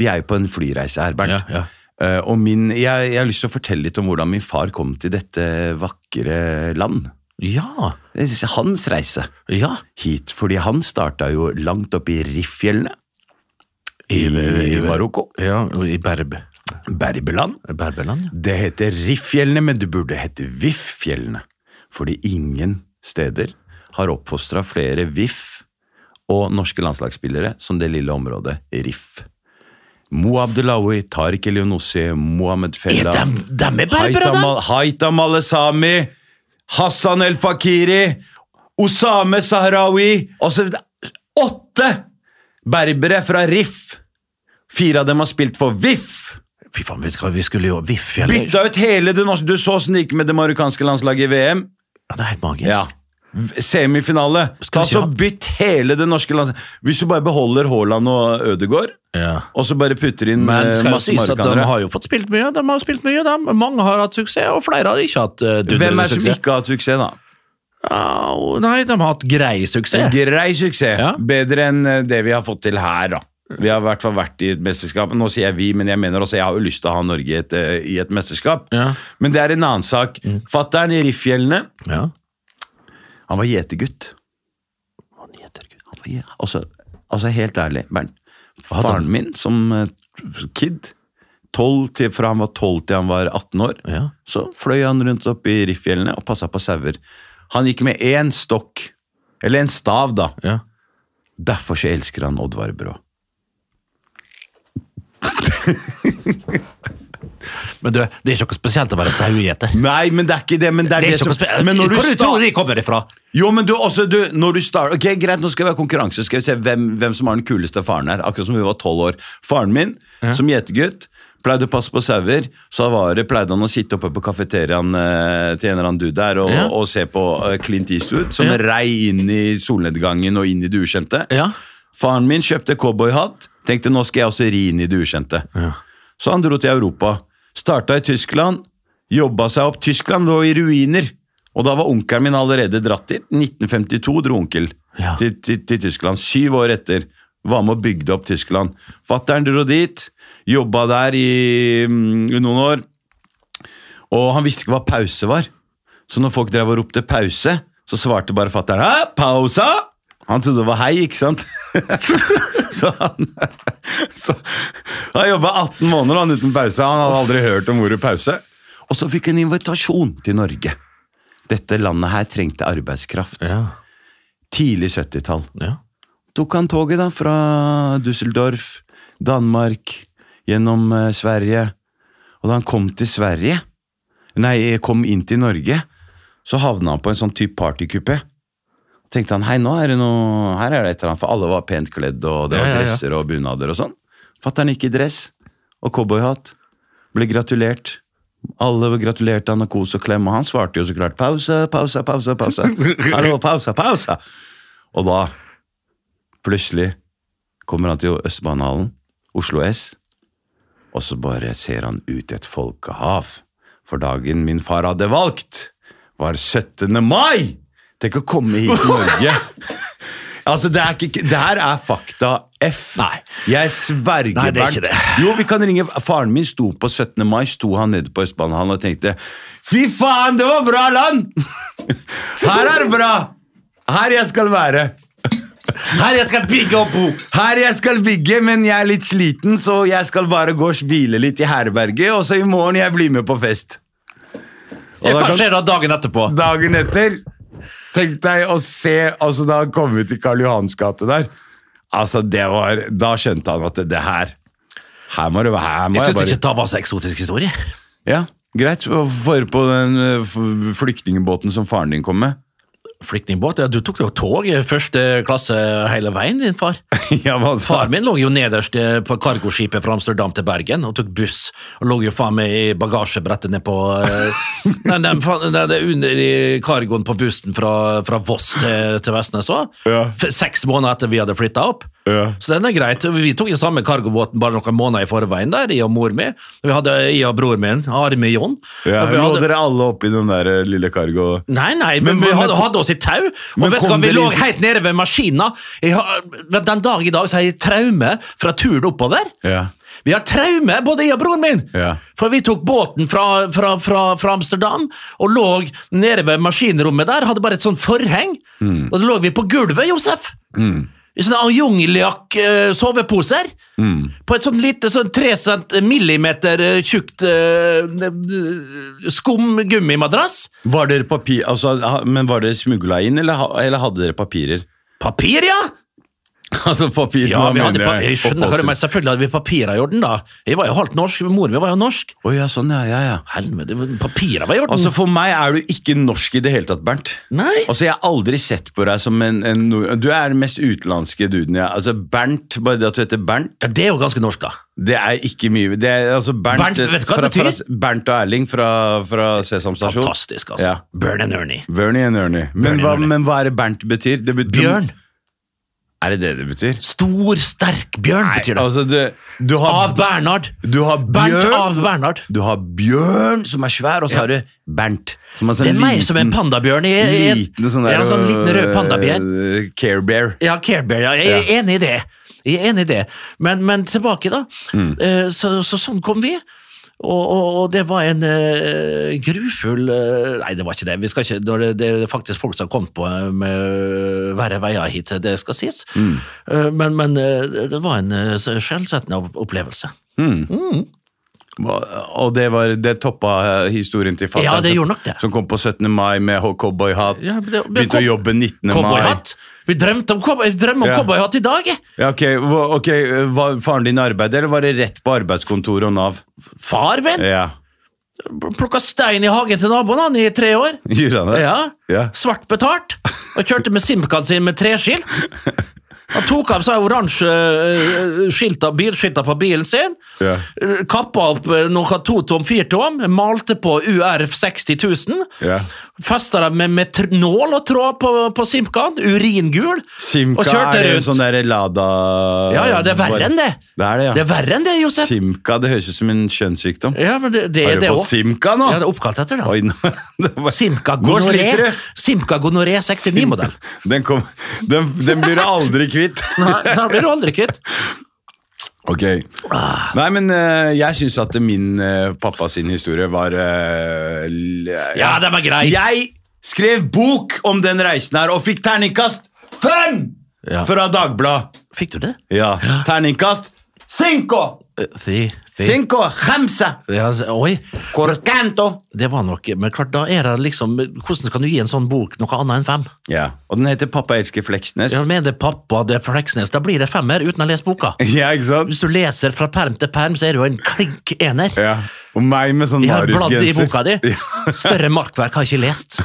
[SPEAKER 4] vi er jo på en flyreise her, Bernt.
[SPEAKER 5] Ja, ja.
[SPEAKER 4] Eh, og min, jeg, jeg har lyst til å fortelle litt om hvordan min far kom til dette vakre land.
[SPEAKER 5] Ja.
[SPEAKER 4] Det er Hans reise
[SPEAKER 5] ja.
[SPEAKER 4] hit. Fordi han starta jo langt oppe i Rifjellene i, i Marokko.
[SPEAKER 5] Ja, og I Berb.
[SPEAKER 4] Berbeland.
[SPEAKER 5] Berbeland, ja.
[SPEAKER 4] Det heter Riff-fjellene, men det burde hete VIF-fjellene. Fordi ingen steder har oppfostra flere VIF og norske landslagsspillere som det lille området Riff. Mo Abdelawi, Tariq Elionossi, Mohammed
[SPEAKER 5] Er
[SPEAKER 4] Fella
[SPEAKER 5] dem, dem er berbere, dem!
[SPEAKER 4] Haitham Haitham Alesami, Hassan El Fakiri, Osame Sahrawi osv. Åtte berbere fra Riff! Fire av dem har spilt for VIF!
[SPEAKER 5] Fy faen, vet du hva, vi skulle jo Viff, eller?
[SPEAKER 4] Bytta ut hele det norske Du så oss snike med det marokkanske landslaget i VM.
[SPEAKER 5] Ja, det er helt magisk.
[SPEAKER 4] Ja. V- Semifinale.
[SPEAKER 5] Skal vi
[SPEAKER 4] Ta
[SPEAKER 5] si
[SPEAKER 4] så
[SPEAKER 5] han-
[SPEAKER 4] Bytt hele det norske landslaget. Hvis du bare beholder Haaland og Ødegaard,
[SPEAKER 5] Ja.
[SPEAKER 4] og så bare putter inn
[SPEAKER 5] Men
[SPEAKER 4] eh,
[SPEAKER 5] det skal jo
[SPEAKER 4] masse
[SPEAKER 5] sies at de
[SPEAKER 4] marokkanere
[SPEAKER 5] har jo fått spilt mye. De har spilt mye, de. Mange har hatt suksess, og flere har ikke hatt uh,
[SPEAKER 4] Hvem er det som
[SPEAKER 5] suksess.
[SPEAKER 4] ikke har hatt suksess, da?
[SPEAKER 5] Ja, og- nei, de har hatt grei suksess.
[SPEAKER 4] Grei suksess.
[SPEAKER 5] Ja.
[SPEAKER 4] Bedre enn eh, det vi har fått til her, da. Vi har i hvert fall vært i et mesterskap. Nå sier jeg vi, men jeg mener også jeg har jo lyst til å ha Norge i et, eh, i et mesterskap.
[SPEAKER 5] Ja. Mm.
[SPEAKER 4] Men det er en annen sak. Fattern i Riffjellene,
[SPEAKER 5] Ja.
[SPEAKER 4] han var gjetergutt.
[SPEAKER 5] Han heter Gud.
[SPEAKER 4] Og jeg- Altså, altså helt ærlig, Bernt.
[SPEAKER 5] da?
[SPEAKER 4] Faren min som eh, kid, 12 til, fra han var 12 til han var 18 år,
[SPEAKER 5] Ja.
[SPEAKER 4] så fløy han rundt opp i Rifjellene og passa på sauer. Han gikk med én stokk, eller en stav, da.
[SPEAKER 5] Ja.
[SPEAKER 4] Derfor så elsker han Oddvar Brå.
[SPEAKER 5] Men du, det er ikke noe spesielt å være sauegjeter.
[SPEAKER 4] Nei, men det er ikke det. Men det er
[SPEAKER 5] Det er
[SPEAKER 4] det,
[SPEAKER 5] ikke noe
[SPEAKER 4] som
[SPEAKER 5] spesielt.
[SPEAKER 4] men når du
[SPEAKER 5] Hvor
[SPEAKER 4] sta-
[SPEAKER 5] tror du de kommer ifra?
[SPEAKER 4] Jo, men du også, du, når du starter Ok, greit, nå skal vi ha konkurranse. Skal vi se hvem, hvem som har den kuleste faren her. Akkurat som vi var tolv år. Faren min, som gjetergutt, pleide å passe på sauer. Så var det, pleide han å sitte oppe på kafeteriaen eh, til en eller annen dude der og,
[SPEAKER 5] Ja.
[SPEAKER 4] og se på eh, Clint Eastwood, som
[SPEAKER 5] Ja.
[SPEAKER 4] rei inn i solnedgangen og inn i det ukjente.
[SPEAKER 5] Ja.
[SPEAKER 4] Faren min kjøpte cowboyhatt. Tenkte nå skal jeg også ri inn i det ukjente. Så han dro til Europa. Starta i Tyskland, jobba seg opp. Tyskland lå i ruiner. Og da var onkelen min allerede dratt dit. 1952 dro onkel
[SPEAKER 5] Ja.
[SPEAKER 4] til, til, til Tyskland. Syv år etter. Var med og bygde opp Tyskland. Fattern dro dit, jobba der i, mm, i noen år. Og han visste ikke hva pause var. Så når folk drev og ropte pause, så svarte bare fatter'n hæ, pausa! Han trodde det var hei, ikke sant? *laughs* så han så, Han jobba 18 måneder han uten pause. Han hadde aldri hørt om ordet pause. Og så fikk han invitasjon til Norge. Dette landet her trengte arbeidskraft.
[SPEAKER 5] Ja.
[SPEAKER 4] Tidlig 70-tall.
[SPEAKER 5] Ja.
[SPEAKER 4] tok han toget da fra Düsseldorf, Danmark, gjennom eh, Sverige. Og da han kom til Sverige, nei, eh, kom inn til Norge, så havna han på en sånn type partykupé. Tenkte han, hei, nå er det noe, her er det et eller annet, for alle var pent kledd, og det
[SPEAKER 5] Ja,
[SPEAKER 4] var
[SPEAKER 5] ja, ja.
[SPEAKER 4] dresser og bunader og sånn. Fatter'n gikk i dress og cowboyhatt. Ble gratulert. Alle gratulerte han og kos og klem, og han svarte jo så klart pause, pause, pause, pause.
[SPEAKER 5] *laughs*
[SPEAKER 4] Hallo, pause, pause. Og da, plutselig, kommer han til Østbanehallen, Oslo S, og så bare ser han ut i et folkehav. For dagen min far hadde valgt, var 17. mai! Tenk å komme hit til
[SPEAKER 5] *laughs*
[SPEAKER 4] Norge. Altså, det, er ikke, det her er fakta F.
[SPEAKER 5] Nei.
[SPEAKER 4] Jeg sverger,
[SPEAKER 5] Nei, det er ikke
[SPEAKER 4] Bernt.
[SPEAKER 5] det.
[SPEAKER 4] Jo, vi kan ringe Faren min sto på 17. mai, sto han nede på Østbanehallen og tenkte Fy faen, det var bra land! *laughs* Her er det bra! Her jeg skal være. Her jeg skal bygge opp bo! Her jeg skal bygge, men jeg er litt sliten, så jeg skal bare gå og hvile litt i herberget, og så i morgen jeg blir med på fest. Og da
[SPEAKER 5] Hva
[SPEAKER 4] kan-
[SPEAKER 5] skjer da dagen etterpå?
[SPEAKER 4] dagen etter Tenk deg å se altså da han kom ut i Karl Johans gate der. Altså, det var Da skjønte han at det, det her Her må det være her må
[SPEAKER 5] Jeg
[SPEAKER 4] jeg
[SPEAKER 5] syns
[SPEAKER 4] bare-
[SPEAKER 5] ikke det var så eksotisk historie.
[SPEAKER 4] Ja, greit. For på den eh, f- flyktningbåten som faren din kom med. *laughs*
[SPEAKER 5] Flyktningbåt? Ja, du tok jo tog i første klasse hele veien, din far.
[SPEAKER 4] ja, hva sa
[SPEAKER 5] Far min lå jo nederst eh, på cargoskipet fra Amsterdam til Bergen og tok buss. Og lå jo faen meg i bagasjebrettet ned på eh, Nei, nei, faen, nei, det er under i cargoen på bussen fra, fra Voss til, til Vestnes òg.
[SPEAKER 4] Ja.
[SPEAKER 5] Seks måneder etter vi hadde flytta opp.
[SPEAKER 4] Ja.
[SPEAKER 5] Så den er greit. Vi tok den samme cargobåten bare noen måneder i forveien, der, jeg og mor mi. Vi hadde jeg og bror min, Arme John.
[SPEAKER 4] Ja,
[SPEAKER 5] Og vi
[SPEAKER 4] lå
[SPEAKER 5] hadde-
[SPEAKER 4] dere alle oppi den der eh, lille cargo...
[SPEAKER 5] Nei, nei,
[SPEAKER 4] Men-
[SPEAKER 5] men, vi
[SPEAKER 4] men-
[SPEAKER 5] hadde, hadde oss i tau.
[SPEAKER 4] Men
[SPEAKER 5] Og vet du hva,
[SPEAKER 4] kom
[SPEAKER 5] vi
[SPEAKER 4] det
[SPEAKER 5] lå
[SPEAKER 4] liksom-
[SPEAKER 5] helt nede ved maskina. Jeg har, den dag i dag så har jeg traume fra turen oppover.
[SPEAKER 4] Ja.
[SPEAKER 5] Vi har traume, både jeg og broren min.
[SPEAKER 4] Ja.
[SPEAKER 5] For vi tok båten fra, fra, fra, fra Amsterdam og lå nede ved maskinrommet der. Hadde bare et sånt forheng.
[SPEAKER 4] Mm.
[SPEAKER 5] Og da lå vi på gulvet, Josef. I sånne Aljongiliak-soveposer.
[SPEAKER 4] Mm.
[SPEAKER 5] På et sånt lite sånn 3 cent millimeter eh, tjukt eh, skumgummimadrass.
[SPEAKER 4] Var dere papir... Altså, ha- men var dere smugla inn, eller, ha- eller hadde dere
[SPEAKER 5] *laughs*
[SPEAKER 4] papirer?
[SPEAKER 5] Papir, ja!
[SPEAKER 4] altså, papir
[SPEAKER 5] Ja, vi hadde, pa- jeg skjønner hva du
[SPEAKER 4] eh, oppholds-
[SPEAKER 5] mener. Selvfølgelig hadde vi papirer i orden, da. Jeg var jo halvt norsk, mor mi var jo norsk.
[SPEAKER 4] Å ja, sånn, ja, ja, ja.
[SPEAKER 5] Helvete, papirer var i orden.
[SPEAKER 4] Altså, For meg er du ikke norsk i det hele tatt, Bernt.
[SPEAKER 5] Nei.
[SPEAKER 4] Altså, Jeg har aldri sett på deg som en, en nord- Du er den mest utenlandske duden jeg Altså, Bernt, bare det at du heter Bernt,
[SPEAKER 5] Ja, det er jo ganske norsk, da.
[SPEAKER 4] det er ikke mye det er, altså, Bernt,
[SPEAKER 5] Bernt, vet du hva
[SPEAKER 4] fra,
[SPEAKER 5] det betyr?
[SPEAKER 4] Fra, Bernt og Erling fra, fra Sesam stasjon.
[SPEAKER 5] Fantastisk, altså.
[SPEAKER 4] Ja.
[SPEAKER 5] Burn and Ernie.
[SPEAKER 4] Bernie and Ernie. Men,
[SPEAKER 5] Bernie
[SPEAKER 4] hva,
[SPEAKER 5] and Ernie.
[SPEAKER 4] men hva er det Bernt betyr? Det betyr
[SPEAKER 5] Bjørn.
[SPEAKER 4] Er det det det betyr?
[SPEAKER 5] Stor, sterk bjørn, betyr det.
[SPEAKER 4] Altså, du, du har,
[SPEAKER 5] Av Bernhard.
[SPEAKER 4] du har
[SPEAKER 5] Bernt
[SPEAKER 4] bjørn
[SPEAKER 5] av Bernhard.
[SPEAKER 4] Du har bjørn, som er svær, og så har du Bernt. Som er sånn
[SPEAKER 5] Det er meg som en
[SPEAKER 4] liten-
[SPEAKER 5] pandabjørn. Jeg, jeg, jeg,
[SPEAKER 4] Liten sånn der
[SPEAKER 5] jeg er en sånn liten rød pandabjørn.
[SPEAKER 4] øh, Care Bear.
[SPEAKER 5] Ja, Carebear, ja. Jeg er enig i det. Jeg er enig i det. Men, men tilbake, da.
[SPEAKER 4] Mm.
[SPEAKER 5] Eh, Så, så sånn kom vi. Og, og, og det var en eh, grufull eh, Nei, det var ikke det. Vi skal ikke, når det, det er faktisk folk som har kommet på eh, med eh, verre veier hit, det skal sies.
[SPEAKER 4] Mm.
[SPEAKER 5] Eh, men, men eh, det var en eh, skjellsettende opp- opplevelse.
[SPEAKER 4] Hva- Og det, var, det toppa eh, historien til fatter'n.
[SPEAKER 5] Ja, det
[SPEAKER 4] som-
[SPEAKER 5] gjorde nok det.
[SPEAKER 4] Som kom på 17. mai med ho- cowboyhatt.
[SPEAKER 5] Ja, men det- men
[SPEAKER 4] begynte å
[SPEAKER 5] kom-
[SPEAKER 4] jobbe 19. mai.
[SPEAKER 5] Cowboyhatt! Vi drømte om, cowboy- jeg drømmer om
[SPEAKER 4] Ja.
[SPEAKER 5] cowboyhatt i dag! jeg.
[SPEAKER 4] Ja, ok, hva- ok, Var faren din i arbeid, eller var det rett på arbeidskontoret og Nav?
[SPEAKER 5] Far min
[SPEAKER 4] Ja, *laughs*
[SPEAKER 5] plukka stein i hagen til naboen han i tre år.
[SPEAKER 4] Gjorde han det?
[SPEAKER 5] Ja.
[SPEAKER 4] Ja.
[SPEAKER 5] Svart betalt. Og kjørte med Simcan sin med treskilt. Han tok av seg oransje eh, skilta, bilskilta på bilen sin.
[SPEAKER 4] Ja.
[SPEAKER 5] eh, Kappa opp eh, noe totom, firtom, malte på UR 60 000.
[SPEAKER 4] Ja.
[SPEAKER 5] Festa det med, med tr- nål og tråd på, på Simcan, uringul,
[SPEAKER 4] Simca
[SPEAKER 5] og kjørte
[SPEAKER 4] er jo
[SPEAKER 5] rundt.
[SPEAKER 4] sånn der Lada
[SPEAKER 5] Ja, ja, det er verre enn det.
[SPEAKER 4] Det er det, ja.
[SPEAKER 5] Det er verre enn det, Josef.
[SPEAKER 4] Simca, det høres ut som en kjønnssykdom.
[SPEAKER 5] Ja, men det, det
[SPEAKER 4] Har
[SPEAKER 5] er
[SPEAKER 4] du
[SPEAKER 5] det
[SPEAKER 4] fått
[SPEAKER 5] òg.
[SPEAKER 4] Simca nå?
[SPEAKER 5] Ja, det er oppkalt etter det.
[SPEAKER 4] Oi, nå, *laughs* det var-
[SPEAKER 5] Simca
[SPEAKER 4] Nå
[SPEAKER 5] gonoré.
[SPEAKER 4] sliter du.
[SPEAKER 5] Simca gonoré 69-modell.
[SPEAKER 4] *laughs* Den, kom, den, den blir du aldri
[SPEAKER 5] *laughs*
[SPEAKER 4] kvitt.
[SPEAKER 5] Da blir du aldri kvitt.
[SPEAKER 4] Ok.
[SPEAKER 5] Ah.
[SPEAKER 4] Nei, men eh, jeg syns at min eh, pappa sin historie var eh, l-
[SPEAKER 5] Ja, den var grei.
[SPEAKER 4] Jeg skrev bok om den reisen her og fikk terningkast fem
[SPEAKER 5] Ja.
[SPEAKER 4] fra Dagblad.
[SPEAKER 5] Fikk du det?
[SPEAKER 4] Ja. Terningkast cinco!
[SPEAKER 5] Si,
[SPEAKER 4] Cinco, hamsa,
[SPEAKER 5] Ja, altså, oi,
[SPEAKER 4] corcanto.
[SPEAKER 5] det var nok Men klart, da er det liksom Hvordan kan du gi en sånn bok noe annet enn fem?
[SPEAKER 4] Ja, og den heter Pappa elsker Fleksnes.
[SPEAKER 5] Ja, men det er pappa, det er Fleksnes. Da blir det femmer uten å lese boka.
[SPEAKER 4] *laughs* Ja, ikke sant?
[SPEAKER 5] Hvis du leser fra perm til perm, så er det jo en klink ener.
[SPEAKER 4] Ja, og meg med sånn
[SPEAKER 5] Jeg har bladd i
[SPEAKER 4] Marius-genser.
[SPEAKER 5] boka
[SPEAKER 4] *laughs*
[SPEAKER 5] di. Større makkverk har jeg ikke lest.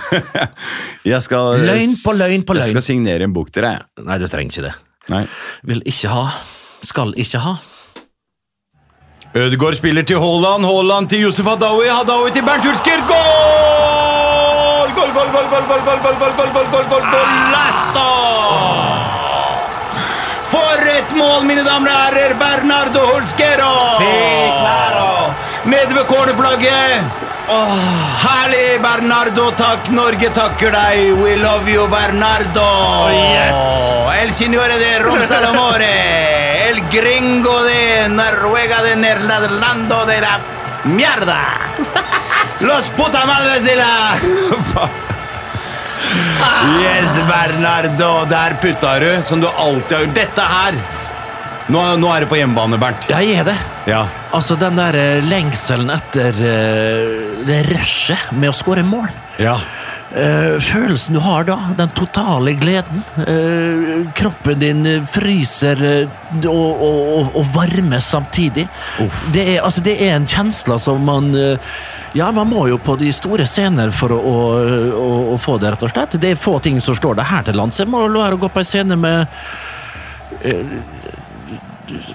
[SPEAKER 4] Jeg skal,
[SPEAKER 5] Løgn på løgn på
[SPEAKER 4] Jeg
[SPEAKER 5] løgn.
[SPEAKER 4] skal signere en bok til deg. jeg.
[SPEAKER 5] Nei, du trenger ikke det.
[SPEAKER 4] Nei.
[SPEAKER 5] Vil ikke ha. Skal ikke ha.
[SPEAKER 4] Ødegaard spiller til Haaland, Haaland til Josef Hadaoui, Hadaoui til Bernt Hulsker. Goal! Goal, goal, goal, goal, goal, goal, goal, goal, goal, goal, goal, goal, golasso! For et mål, mine damer og herrer! Bernardo Hulskero! Nede ved cornerflagget. Herlig, Bernardo. Takk, Norge takker deg. We love you, Bernardo. El signore de Romsdal Amore. El gringo de Noruega de Nerlando de la mierda. Los puta madres de la *laughs* Yes, Bernardo. Der putta du, som du alltid har gjort. Dette her Nå, nå er du på hjemmebane, Bernt.
[SPEAKER 5] Ja, jeg er det.
[SPEAKER 4] Ja.
[SPEAKER 5] Altså, den der eh, lengselen etter eh, det rushet med å skåre mål.
[SPEAKER 4] ja.
[SPEAKER 5] Eh, følelsen du har da, den totale gleden. eh, kroppen din eh, fryser eh, og, og, og, og varmes samtidig. Det er, altså, det er en kjensle som man eh, Ja, man må jo på de store scener for å, å, å, å få det, rett og slett. Det er få ting som slår det her til lands. Jeg må la være å gå på en scene med eh,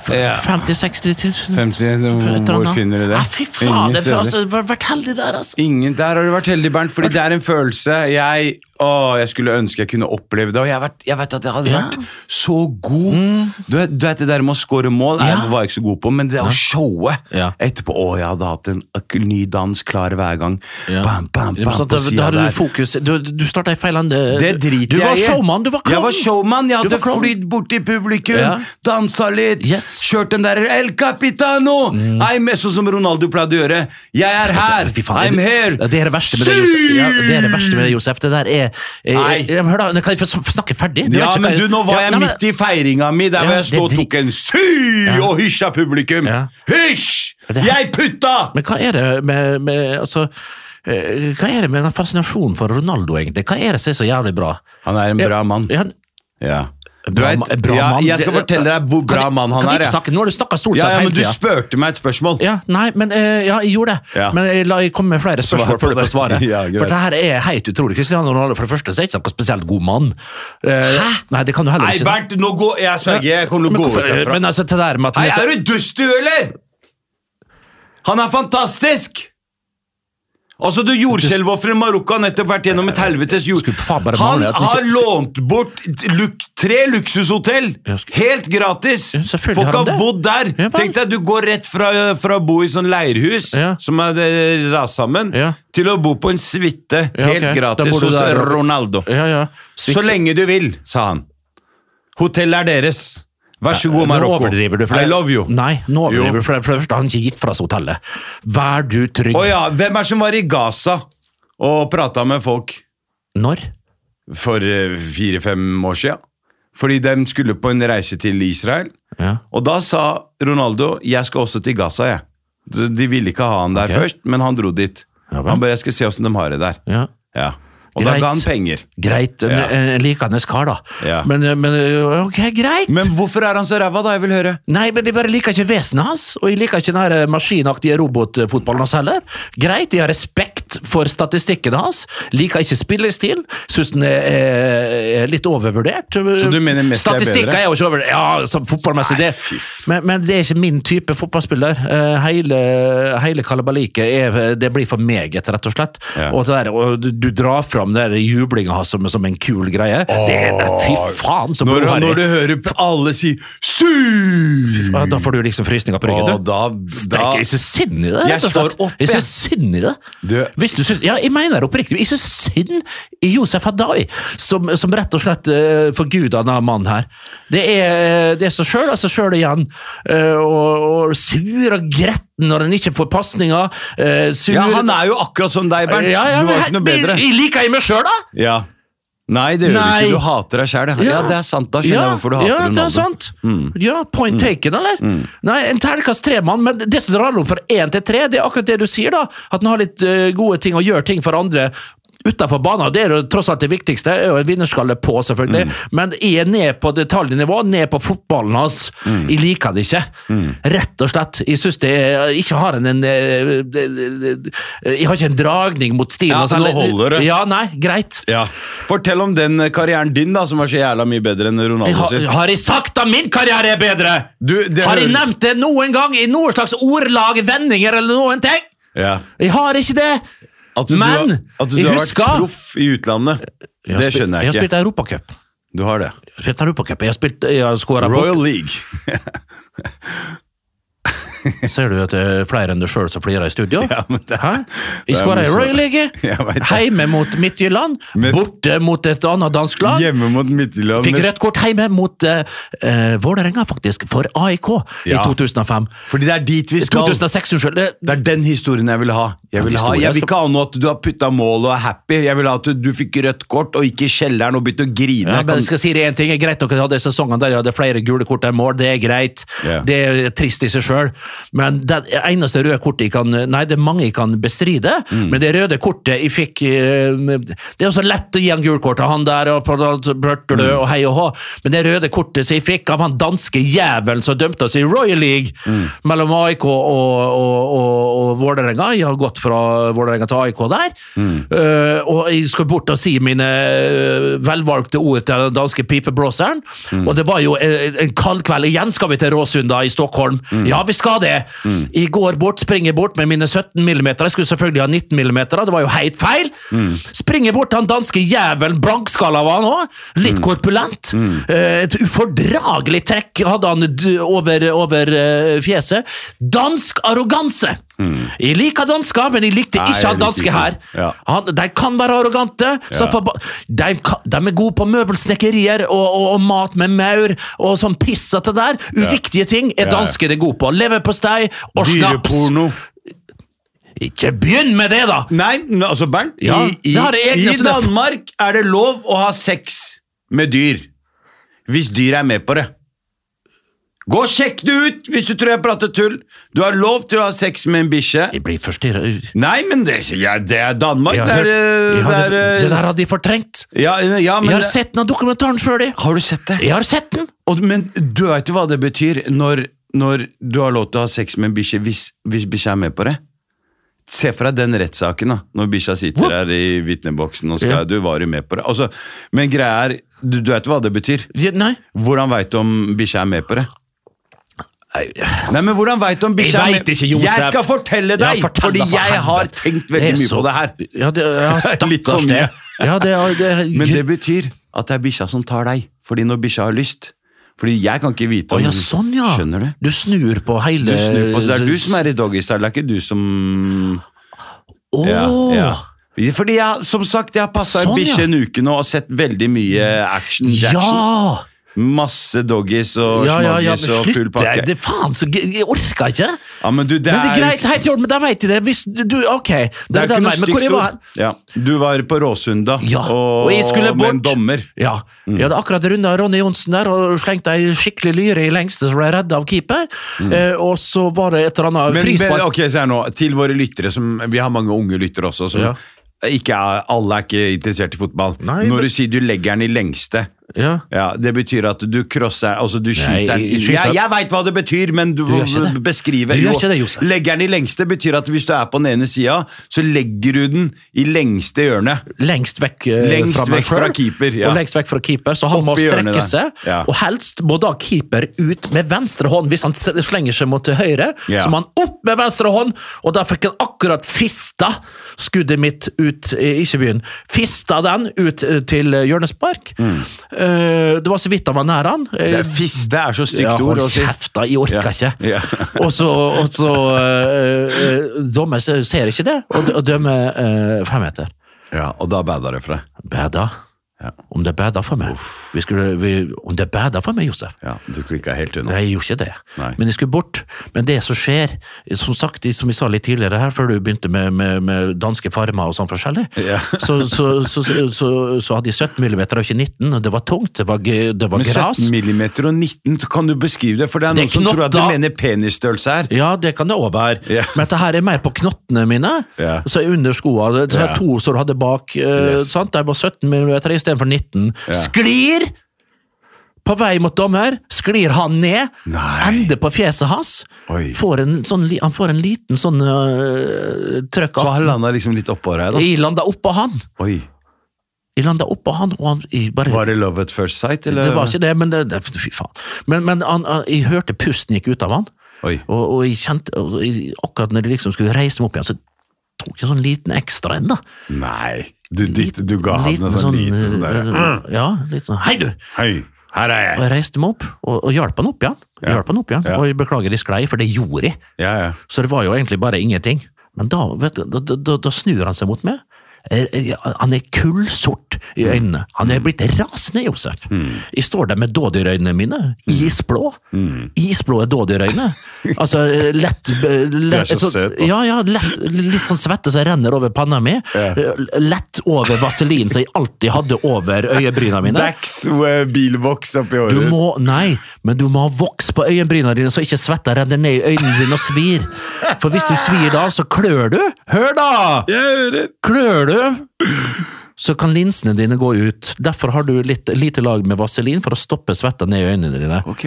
[SPEAKER 4] Ja.
[SPEAKER 5] 50 000-60 000
[SPEAKER 4] 50, hvor finner du det?
[SPEAKER 5] Ja, fy faen,
[SPEAKER 4] Ingen
[SPEAKER 5] det er
[SPEAKER 4] steder.
[SPEAKER 5] altså, jeg har vært heldig der, altså.
[SPEAKER 4] Ingen, Der har du vært heldig, Bernt, fordi det er en følelse jeg, å, jeg skulle ønske jeg kunne oppleve det. Og jeg, har vært, jeg vet at jeg hadde
[SPEAKER 5] Ja. Mm.
[SPEAKER 4] vært så god. Du, vet- du vet det der med å score mål jeg
[SPEAKER 5] Ja.
[SPEAKER 4] var jeg ikke så god på, men det å showe
[SPEAKER 5] Ja.
[SPEAKER 4] etterpå Å, jeg hadde hatt en ak- ny dans klar hver gang.
[SPEAKER 5] Ja.
[SPEAKER 4] Bam, bam,
[SPEAKER 5] Det er
[SPEAKER 4] bam,
[SPEAKER 5] sant, da,
[SPEAKER 4] på
[SPEAKER 5] da
[SPEAKER 4] sida
[SPEAKER 5] har du
[SPEAKER 4] der.
[SPEAKER 5] fokus Du, du starta i feil ende.
[SPEAKER 4] Det
[SPEAKER 5] Eh, du
[SPEAKER 4] driter jeg
[SPEAKER 5] var
[SPEAKER 4] i.
[SPEAKER 5] showman, du var klovn!
[SPEAKER 4] Jeg var showman, jeg
[SPEAKER 5] Du var
[SPEAKER 4] hadde
[SPEAKER 5] klovn.
[SPEAKER 4] flydd bort til publikum,
[SPEAKER 5] Ja.
[SPEAKER 4] dansa litt,
[SPEAKER 5] Yes. Mm.
[SPEAKER 4] kjørt den der El Capitano! I'm, sånn som Ronaldo pleide å gjøre. Jeg er her!
[SPEAKER 5] Fy faen,
[SPEAKER 4] I'm
[SPEAKER 5] det-
[SPEAKER 4] here!
[SPEAKER 5] Ja, Det er det verste med det, Josef. Ja, det, er det, verste med det, Josef. det der er eh,
[SPEAKER 4] Nei.
[SPEAKER 5] eh, Hør, da, nå kan jeg få sn- få snakke ferdig?
[SPEAKER 4] Ja, men du, nå var jeg midt i feiringa mi, der
[SPEAKER 5] Ja,
[SPEAKER 4] hvor jeg
[SPEAKER 5] det
[SPEAKER 4] stod og
[SPEAKER 5] dri-
[SPEAKER 4] tok en sy
[SPEAKER 5] Ja.
[SPEAKER 4] og hysja publikum.
[SPEAKER 5] Ja.
[SPEAKER 4] Hysj!
[SPEAKER 5] Ja, det-
[SPEAKER 4] Jeg putta!
[SPEAKER 5] Men hva er det med, med altså eh, hva er det med den fascinasjonen for Ronaldo, egentlig? Hva er det som er så jævlig bra?
[SPEAKER 4] Han er en bra mann.
[SPEAKER 5] Ja,
[SPEAKER 4] Ja. Du
[SPEAKER 5] Bra
[SPEAKER 4] vet,
[SPEAKER 5] ma- bra
[SPEAKER 4] ja,
[SPEAKER 5] mann.
[SPEAKER 4] jeg skal
[SPEAKER 5] Det-
[SPEAKER 4] fortelle deg hvor
[SPEAKER 5] kan
[SPEAKER 4] bra
[SPEAKER 5] jeg-
[SPEAKER 4] mann han
[SPEAKER 5] kan jeg
[SPEAKER 4] er.
[SPEAKER 5] ikke
[SPEAKER 4] Ja.
[SPEAKER 5] snakke? Nå har du snakka stort
[SPEAKER 4] Ja,
[SPEAKER 5] sett
[SPEAKER 4] ja,
[SPEAKER 5] hele
[SPEAKER 4] men du
[SPEAKER 5] tida.
[SPEAKER 4] spurte meg et spørsmål.
[SPEAKER 5] Ja, nei, men eh, ja, jeg gjorde det.
[SPEAKER 4] Ja.
[SPEAKER 5] Men jeg la jeg komme med flere
[SPEAKER 4] Svar
[SPEAKER 5] spørsmål
[SPEAKER 4] på
[SPEAKER 5] før du
[SPEAKER 4] det.
[SPEAKER 5] får svare.
[SPEAKER 4] *laughs* Ja, greit.
[SPEAKER 5] for det her er helt utrolig. Cristiano Ronaldo for det første så er ikke noen spesielt god mann. Hæ? Nei, det kan du heller
[SPEAKER 4] Nei,
[SPEAKER 5] ikke.
[SPEAKER 4] Bernt, nå går jeg sverger. Jeg kommer
[SPEAKER 5] men,
[SPEAKER 4] til å gå ut
[SPEAKER 5] hvorfor-
[SPEAKER 4] herfra.
[SPEAKER 5] men altså, til det der med at
[SPEAKER 4] Nei,
[SPEAKER 5] han er så-
[SPEAKER 4] er du dust, du, eller? Han er fantastisk! Altså, du Jordskjelvofferet i Marokko har nettopp vært gjennom et helvetes jord.
[SPEAKER 5] Skulle faen bare
[SPEAKER 4] Han
[SPEAKER 5] mangle at
[SPEAKER 4] har
[SPEAKER 5] han ikke-
[SPEAKER 4] lånt bort luk tre luksushotell!
[SPEAKER 5] Ja, sk-
[SPEAKER 4] Helt gratis!
[SPEAKER 5] Ja, selvfølgelig
[SPEAKER 4] Folk
[SPEAKER 5] har han
[SPEAKER 4] har
[SPEAKER 5] det.
[SPEAKER 4] bodd der!
[SPEAKER 5] Ja, vel.
[SPEAKER 4] Tenk deg, du går rett fra, fra å bo i sånn leirhus,
[SPEAKER 5] Ja.
[SPEAKER 4] som er eh, rast sammen,
[SPEAKER 5] Ja.
[SPEAKER 4] til å bo på en suite
[SPEAKER 5] Ja,
[SPEAKER 4] helt
[SPEAKER 5] ok. Da
[SPEAKER 4] gratis
[SPEAKER 5] bor du
[SPEAKER 4] hos
[SPEAKER 5] der, ja.
[SPEAKER 4] Ronaldo.
[SPEAKER 5] ja, ja.
[SPEAKER 4] Så lenge du vil, sa han. Hotellet er deres. Vær så god,
[SPEAKER 5] Nå
[SPEAKER 4] Marokko.
[SPEAKER 5] overdriver du. for
[SPEAKER 4] I
[SPEAKER 5] det-
[SPEAKER 4] love you.
[SPEAKER 5] Nei, nå overdriver
[SPEAKER 4] Jo.
[SPEAKER 5] du. For det for det første har han ikke gitt fra seg hotellet. Vær du trygg.
[SPEAKER 4] Å ja, hvem er det som var i Gaza og prata med folk
[SPEAKER 5] Når?
[SPEAKER 4] for eh, fire-fem år siden? Fordi de skulle på en reise til Israel.
[SPEAKER 5] Ja.
[SPEAKER 4] Og da sa Ronaldo 'jeg skal også til Gaza', jeg. De de ville ikke ha han der
[SPEAKER 5] Ok.
[SPEAKER 4] først, men han dro dit.
[SPEAKER 5] Ja vel.
[SPEAKER 4] han bare 'jeg skal se åssen de har det der'.
[SPEAKER 5] ja.
[SPEAKER 4] Ja. Og da
[SPEAKER 5] Greit.
[SPEAKER 4] ga han penger.
[SPEAKER 5] Greit. En,
[SPEAKER 4] Ja.
[SPEAKER 5] en likende kar, da.
[SPEAKER 4] Ja.
[SPEAKER 5] Men, eh, men ok, greit.
[SPEAKER 4] Men hvorfor er han så ræva, da? Jeg vil høre.
[SPEAKER 5] Nei, men jeg bare liker ikke vesenet hans, og jeg liker ikke den her eh, maskinaktige robotfotballen hans heller. Greit, jeg har respekt for statistikken hans, liker ikke spillestil, syns den er, eh, er litt overvurdert. Så
[SPEAKER 4] du mener Messi er bedre?
[SPEAKER 5] er jo ikke overvurdert, ja, som fotballmessig det. Men, men det er ikke min type fotballspiller. Eh, Hele, hele kalabaliket er, det blir for meget, rett og slett.
[SPEAKER 4] Ja.
[SPEAKER 5] Og, det der, og du, du drar fram den der jublinga hans som, som en kul greie. Det er, fy faen, så
[SPEAKER 4] Når,
[SPEAKER 5] blodharry.
[SPEAKER 4] når du hører p- alle si 'syv',
[SPEAKER 5] Ja, Da får du liksom frysninger på ryggen. du.
[SPEAKER 4] og da, da
[SPEAKER 5] Strekker, jeg ser synd i det.
[SPEAKER 4] Jeg
[SPEAKER 5] rett og slett.
[SPEAKER 4] står opp,
[SPEAKER 5] Jeg
[SPEAKER 4] jeg.
[SPEAKER 5] ser synd i det.
[SPEAKER 4] Du-
[SPEAKER 5] Hvis du syns, ja, jeg mener det oppriktig. Jeg ser synd i Josef Hadai, som, som rett og slett uh, forguda denne mannen her. Det er, det er seg sjøl, altså sjøl igjen. eh, og, og sur og gretten når han ikke får pasninger. eh, sur
[SPEAKER 4] Ja, han er jo akkurat som deg, Bernt.
[SPEAKER 5] Ja, ja,
[SPEAKER 4] du
[SPEAKER 5] men
[SPEAKER 4] var
[SPEAKER 5] her-
[SPEAKER 4] ikke noe bedre.
[SPEAKER 5] Jeg, jeg liker jeg meg sjøl, da!
[SPEAKER 4] Ja. Nei, det gjør
[SPEAKER 5] Nei.
[SPEAKER 4] du ikke. Du hater deg sjæl. Ja. ja, det er sant. Da skjønner jeg hvorfor du hater Mm.
[SPEAKER 5] ja,
[SPEAKER 4] Ronaldo.
[SPEAKER 5] det er sant. Ja, point taken, eller?
[SPEAKER 4] Mm.
[SPEAKER 5] Nei, en terningkast tre-mann, men det som drar om fra én til tre, det er akkurat det du sier, da. At han har litt eh, gode ting og gjør ting for andre. Utenfor banen, og det er jo tross alt det viktigste, er jo en vinnerskalle på, selvfølgelig,
[SPEAKER 4] Mm.
[SPEAKER 5] men jeg er ned på detaljnivå, ned på fotballen hans.
[SPEAKER 4] Mm.
[SPEAKER 5] Jeg liker det ikke, rett og slett. Jeg synes det er, ikke har en, en eh, de- de- de- Jeg har ikke en dragning mot stilen.
[SPEAKER 4] Ja,
[SPEAKER 5] og sånn.
[SPEAKER 4] nå holder det.
[SPEAKER 5] Ja, nei, greit.
[SPEAKER 4] Ja. Fortell om den eh, karrieren din, da, som er så jævla mye bedre enn
[SPEAKER 5] Jeg
[SPEAKER 4] Ronaldo
[SPEAKER 5] har,
[SPEAKER 4] sin.
[SPEAKER 5] har jeg sagt at min karriere er bedre?
[SPEAKER 4] Du, det
[SPEAKER 5] har jeg
[SPEAKER 4] hører-
[SPEAKER 5] nevnt det noen gang i noen slags ordlag, vendinger eller noen ting?
[SPEAKER 4] Ja.
[SPEAKER 5] Jeg har ikke det.
[SPEAKER 4] At du,
[SPEAKER 5] Men,
[SPEAKER 4] du, har- at du,
[SPEAKER 5] jeg
[SPEAKER 4] du har vært
[SPEAKER 5] husker-
[SPEAKER 4] proff i utlandet,
[SPEAKER 5] Jeg har
[SPEAKER 4] det
[SPEAKER 5] spilt-
[SPEAKER 4] skjønner
[SPEAKER 5] Jeg
[SPEAKER 4] jeg
[SPEAKER 5] har
[SPEAKER 4] ikke.
[SPEAKER 5] spilt Europacup.
[SPEAKER 4] Du har det.
[SPEAKER 5] Jeg har spilt Europacup. Jeg har spilt eh, Jeg har skåra
[SPEAKER 4] Royal League.
[SPEAKER 5] Ser du at det er flere enn deg sjøl som flirer i studio?
[SPEAKER 4] Ja, men det-
[SPEAKER 5] Hæ?
[SPEAKER 4] det
[SPEAKER 5] Jeg
[SPEAKER 4] er
[SPEAKER 5] skåra i
[SPEAKER 4] morsomt.
[SPEAKER 5] Royal League.
[SPEAKER 4] *laughs* Jeg vet det.
[SPEAKER 5] Heime mot Midtjylland.
[SPEAKER 4] Men-
[SPEAKER 5] Borte mot et annet dansk lag.
[SPEAKER 4] Hjemme mot Midtjylland.
[SPEAKER 5] Fikk rødt kort heime mot uh, Vålerenga, faktisk, for AIK i
[SPEAKER 4] Ja.
[SPEAKER 5] 2005.
[SPEAKER 4] Fordi det er dit vi skal.
[SPEAKER 5] 2006, unnskyld. Det-
[SPEAKER 4] Det er den historien jeg vil ha. Jeg vil, ha.
[SPEAKER 5] historien
[SPEAKER 4] Jeg vil
[SPEAKER 5] skal-
[SPEAKER 4] ikke ha noe at du har putta mål og er happy. Jeg vil ha at du, du fikk rødt kort og gikk i kjelleren og begynte å grine.
[SPEAKER 5] Ja, men
[SPEAKER 4] Jeg kan-
[SPEAKER 5] jeg skal si det en ting, det er Greit nok at jeg hadde sesongen der jeg hadde flere gule kort enn mål, det er greit.
[SPEAKER 4] Ja.
[SPEAKER 5] Det er trist i seg sjøl. Men det eneste røde kortet jeg kan Nei, det er mange jeg kan bestride,
[SPEAKER 4] Mm.
[SPEAKER 5] men det røde kortet jeg fikk eh, Det er jo så lett å gi han gult kort til han der, og på- da blørter du,
[SPEAKER 4] Mm.
[SPEAKER 5] og hei og hå, men det røde kortet som jeg fikk av han danske jævelen som dømte oss i Royal League
[SPEAKER 4] Mm.
[SPEAKER 5] mellom AIK og, og, og, og Vålerenga Jeg har gått fra Vålerenga til AIK der.
[SPEAKER 4] Mm.
[SPEAKER 5] Eh, og jeg skal bort og si mine eh, velvalgte ord til den danske pipeblåseren.
[SPEAKER 4] Mm.
[SPEAKER 5] Og det var jo en, en kald kveld. Igjen skal vi til Råsunda i Stockholm.
[SPEAKER 4] Mm.
[SPEAKER 5] Ja, vi skal det! Jeg går bort, springer bort med mine 17 millimeter. Jeg skulle selvfølgelig ha 19 millimeter, det var jo helt feil.
[SPEAKER 4] Mm.
[SPEAKER 5] Springer bort til han danske jævelen, blankskalla var han òg. Litt
[SPEAKER 4] Mm.
[SPEAKER 5] korpulent. Eh, Et ufordragelig trekk hadde han d- over, over eh, fjeset. Dansk arroganse! Jeg liker dansker, men jeg likte
[SPEAKER 4] Mm. Nei,
[SPEAKER 5] ikke
[SPEAKER 4] jeg
[SPEAKER 5] han
[SPEAKER 4] liker
[SPEAKER 5] danske
[SPEAKER 4] ikke.
[SPEAKER 5] her.
[SPEAKER 4] Ja.
[SPEAKER 5] Han, de kan være arrogante. så forba- De, kan- de er gode på møbelsnekkerier og, og, og mat med maur og sånn pissete der. Uviktige ting er
[SPEAKER 4] ja.
[SPEAKER 5] danskene gode på. Leverpostei og snaps.
[SPEAKER 4] Dyreporno.
[SPEAKER 5] Ikke begynn med det, da!
[SPEAKER 4] Nei, men altså, Bernt.
[SPEAKER 5] Ja,
[SPEAKER 4] I, i,
[SPEAKER 5] det har det egne
[SPEAKER 4] I
[SPEAKER 5] som det er-
[SPEAKER 4] Danmark er det lov å ha sex med dyr. Hvis dyr er med på det. Gå og sjekk det ut hvis du tror jeg prater tull. Du har lov til å ha sex med en bikkje.
[SPEAKER 5] Jeg blir forstyrra.
[SPEAKER 4] Nei, men det, ja, det er Danmark.
[SPEAKER 5] Jeg
[SPEAKER 4] Det
[SPEAKER 5] har
[SPEAKER 4] er,
[SPEAKER 5] hørt-
[SPEAKER 4] eh,
[SPEAKER 5] jeg har-
[SPEAKER 4] det er, eh,
[SPEAKER 5] det der hadde de fortrengt.
[SPEAKER 4] ja, ja, men,
[SPEAKER 5] Jeg har sett den av dokumentaren sjøl, jeg.
[SPEAKER 4] Har du sett det?
[SPEAKER 5] Jeg har sett den!
[SPEAKER 4] Og, men du veit jo hva det betyr når, når du har lov til å ha sex med en bikkje hvis, hvis bikkja er med på det? Se for deg den rettssaken da, når bikkja sitter
[SPEAKER 5] Hvor-
[SPEAKER 4] der i vitneboksen og skal
[SPEAKER 5] Ja.
[SPEAKER 4] Du var jo med på det. Altså, men greia er Du, du veit hva det betyr?
[SPEAKER 5] Ja, Nei.
[SPEAKER 4] Hvordan veit du om bikkja er med på det?
[SPEAKER 5] Nei,
[SPEAKER 4] Nei, men hvordan vet du om bikkja
[SPEAKER 5] Jeg
[SPEAKER 4] er
[SPEAKER 5] vet ikke, Josef.
[SPEAKER 4] Jeg skal fortelle deg!
[SPEAKER 5] Ja, fortell
[SPEAKER 4] fordi
[SPEAKER 5] da, for
[SPEAKER 4] jeg har
[SPEAKER 5] helvete.
[SPEAKER 4] tenkt veldig
[SPEAKER 5] Det er
[SPEAKER 4] mye
[SPEAKER 5] så-
[SPEAKER 4] på det her.
[SPEAKER 5] Ja, det, *laughs* ja
[SPEAKER 4] Litt for
[SPEAKER 5] stakkars
[SPEAKER 4] mye.
[SPEAKER 5] det. Ja, det, er- det, er-
[SPEAKER 4] Men det betyr at det er bikkja som tar deg. Fordi når bikkja har lyst Fordi jeg kan ikke vite
[SPEAKER 5] Å
[SPEAKER 4] om
[SPEAKER 5] ja, sånn ja!
[SPEAKER 4] Skjønner du?
[SPEAKER 5] Du snur på hele
[SPEAKER 4] Du snur på, så det er du som er i doggystyle, det er ikke du som
[SPEAKER 5] Åh!
[SPEAKER 4] ja, ja. Fordi jeg, som sagt, jeg har passa
[SPEAKER 5] Sånn, ja.
[SPEAKER 4] ei bikkje en uke nå og sett veldig mye action. Jackson.
[SPEAKER 5] Ja!
[SPEAKER 4] Masse doggies og
[SPEAKER 5] Ja, ja, ja, men
[SPEAKER 4] smoggis og full
[SPEAKER 5] slutt! Det,
[SPEAKER 4] pakke.
[SPEAKER 5] det, faen, så, jeg jeg orker ikke!
[SPEAKER 4] ja, men du, det,
[SPEAKER 5] Men det er
[SPEAKER 4] jo
[SPEAKER 5] greit,
[SPEAKER 4] ikke-
[SPEAKER 5] helt i orden, men da veit jeg det. Hvis du, ok.
[SPEAKER 4] Det er
[SPEAKER 5] den
[SPEAKER 4] ikke noe
[SPEAKER 5] veien, men hvor jeg
[SPEAKER 4] stygt
[SPEAKER 5] var-
[SPEAKER 4] ord. Ja. Du var på Råsunda
[SPEAKER 5] Ja, og jeg skulle
[SPEAKER 4] med en
[SPEAKER 5] bort.
[SPEAKER 4] dommer.
[SPEAKER 5] Ja.
[SPEAKER 4] Mm.
[SPEAKER 5] Jeg hadde akkurat runda Ronny Johnsen der og slengte ei skikkelig lyre i lengste som ble redda av keeper. Eh, og så var det et eller annet
[SPEAKER 4] Mm. Men, men
[SPEAKER 5] frispark.
[SPEAKER 4] ok, så her nå, til våre lyttere som, Vi har mange unge lyttere også som
[SPEAKER 5] Ja.
[SPEAKER 4] ikke er, Alle er ikke interessert i fotball
[SPEAKER 5] Nei, men-
[SPEAKER 4] Når du sier du legger den i lengste
[SPEAKER 5] Ja.
[SPEAKER 4] ja, Det betyr at du crosser Altså du skyter den
[SPEAKER 5] jeg skyter-
[SPEAKER 4] jeg, jeg vet hva det betyr, men du,
[SPEAKER 5] Du gjør ikke det.
[SPEAKER 4] beskriver
[SPEAKER 5] Du gjør
[SPEAKER 4] Jo,
[SPEAKER 5] ikke det, Josef.
[SPEAKER 4] Legger den i lengste betyr at hvis du er på den ene siden Så legger du den i lengste hjørnet
[SPEAKER 5] Lengst vekk eh,
[SPEAKER 4] Lengst
[SPEAKER 5] fra meg
[SPEAKER 4] vekk fra
[SPEAKER 5] selv,
[SPEAKER 4] keeper, ja.
[SPEAKER 5] Og lengst vekk fra keeper, så han må
[SPEAKER 4] i hjørnet
[SPEAKER 5] strekke
[SPEAKER 4] der.
[SPEAKER 5] seg.
[SPEAKER 4] Ja.
[SPEAKER 5] Og helst må da keeper ut med venstre hånd. Hvis han s- slenger seg mot til høyre,
[SPEAKER 4] Ja.
[SPEAKER 5] så må han opp med venstre hånd, og da fikk han akkurat fista skuddet mitt ut eh, Ikke byen. Fista den ut eh, til eh, hjørnespark. Eh, det var så vidt han var nær han. Eh,
[SPEAKER 4] Mm. Det er fiste er så stygt
[SPEAKER 5] ja,
[SPEAKER 4] ord
[SPEAKER 5] hold
[SPEAKER 4] å si
[SPEAKER 5] kjeft, da. Jeg orker
[SPEAKER 4] Ja.
[SPEAKER 5] ikke.
[SPEAKER 4] Ja.
[SPEAKER 5] *laughs* og så, og så eh, eh, Dommer ser ser ikke det, og, og dømmer uh, femmeter.
[SPEAKER 4] ja, Og da bader det for deg
[SPEAKER 5] Bæ da. Om det bæda for meg. Vi skulle, vi, om det bæda for meg, Josef.
[SPEAKER 4] Ja, du klikka helt unna.
[SPEAKER 5] Nei, jeg gjorde ikke det.
[SPEAKER 4] Nei.
[SPEAKER 5] Men jeg skulle bort. Men det som skjer, som sagt, som vi sa litt tidligere her, før du begynte med, med, med danske farmer og sånn forskjellig, *laughs*
[SPEAKER 4] Ja.
[SPEAKER 5] så, så, så, så, så, så hadde jeg 17 millimeter og ikke 19, og det var tungt, det var, g- det var
[SPEAKER 4] Men 17
[SPEAKER 5] gras.
[SPEAKER 4] millimeter og 19, så kan du beskrive det? For det er
[SPEAKER 5] Det
[SPEAKER 4] noen
[SPEAKER 5] er
[SPEAKER 4] som
[SPEAKER 5] knopp,
[SPEAKER 4] tror at det
[SPEAKER 5] da.
[SPEAKER 4] mener penisstørrelse her.
[SPEAKER 5] Ja, det kan det òg være,
[SPEAKER 4] Ja.
[SPEAKER 5] men dette her er mer på knottene mine.
[SPEAKER 4] Ja.
[SPEAKER 5] Så er sånn under skoene. Det
[SPEAKER 4] Ja.
[SPEAKER 5] her to som du hadde bak, eh,
[SPEAKER 4] Yes.
[SPEAKER 5] sant? der var 17 millimeter istedenfor 19. Sklir! På vei mot dommer, sklir han ned,
[SPEAKER 4] Nei.
[SPEAKER 5] ender på fjeset hans.
[SPEAKER 4] Oi.
[SPEAKER 5] Får en, sånn, li- han får en liten sånn øh, trøkk
[SPEAKER 4] Så
[SPEAKER 5] av.
[SPEAKER 4] han landa liksom litt oppå her, da.
[SPEAKER 5] Jeg landa oppå han,
[SPEAKER 4] Oi.
[SPEAKER 5] jeg landa oppå han, og han jeg bare
[SPEAKER 4] Var det love at first sight, eller?
[SPEAKER 5] Det var ikke det, men det, det, fy faen. Men, men han, han, jeg hørte pusten gikk ut av han.
[SPEAKER 4] Oi.
[SPEAKER 5] Og, og jeg kjente, og jeg, akkurat når jeg liksom skulle reise meg opp igjen, så tok jeg sånn liten ekstra en, da.
[SPEAKER 4] Nei. Du, dytte, du ga han en sånn, liten sånn der
[SPEAKER 5] øh, Ja, litt sånn Hei, du!
[SPEAKER 4] Hei, her er
[SPEAKER 5] Og
[SPEAKER 4] jeg!
[SPEAKER 5] jeg reiste meg opp, og, og hjalp han opp igjen.
[SPEAKER 4] Ja.
[SPEAKER 5] Hjalp han opp igjen.
[SPEAKER 4] Ja.
[SPEAKER 5] Og jeg beklager, jeg sklei, for det gjorde jeg.
[SPEAKER 4] Ja, ja.
[SPEAKER 5] Så det var jo egentlig bare ingenting. Men da, vet du, da, da- da, da snur han seg mot meg. Eh, eh, Han er kullsort i
[SPEAKER 4] Mm.
[SPEAKER 5] øynene. Han er blitt rasende, Josef. Jeg står der med dådyrøynene
[SPEAKER 4] Mm.
[SPEAKER 5] mine. Isblå. Isblå er
[SPEAKER 4] *laughs*
[SPEAKER 5] dådyrøyne. Altså eh, lett, eh, lett
[SPEAKER 4] Du er så søt, da.
[SPEAKER 5] Ja, ja, lett, litt sånn svette som renner over panna mi. Eh, Lett over vaselin som jeg alltid hadde over øyebryna mine.
[SPEAKER 4] Dax eh, bilvoks oppi håret.
[SPEAKER 5] Du må, nei, men du må ha voks på øyenbryna dine, så ikke svetta renner ned i øynene dine og svir. For hvis du svir da, så klør du. Hør da!
[SPEAKER 4] Jeg hører!
[SPEAKER 5] Klør du, så kan linsene dine gå ut. Derfor har du litt lite lag med vaselin for å stoppe svetta ned i øynene dine.
[SPEAKER 4] Ok.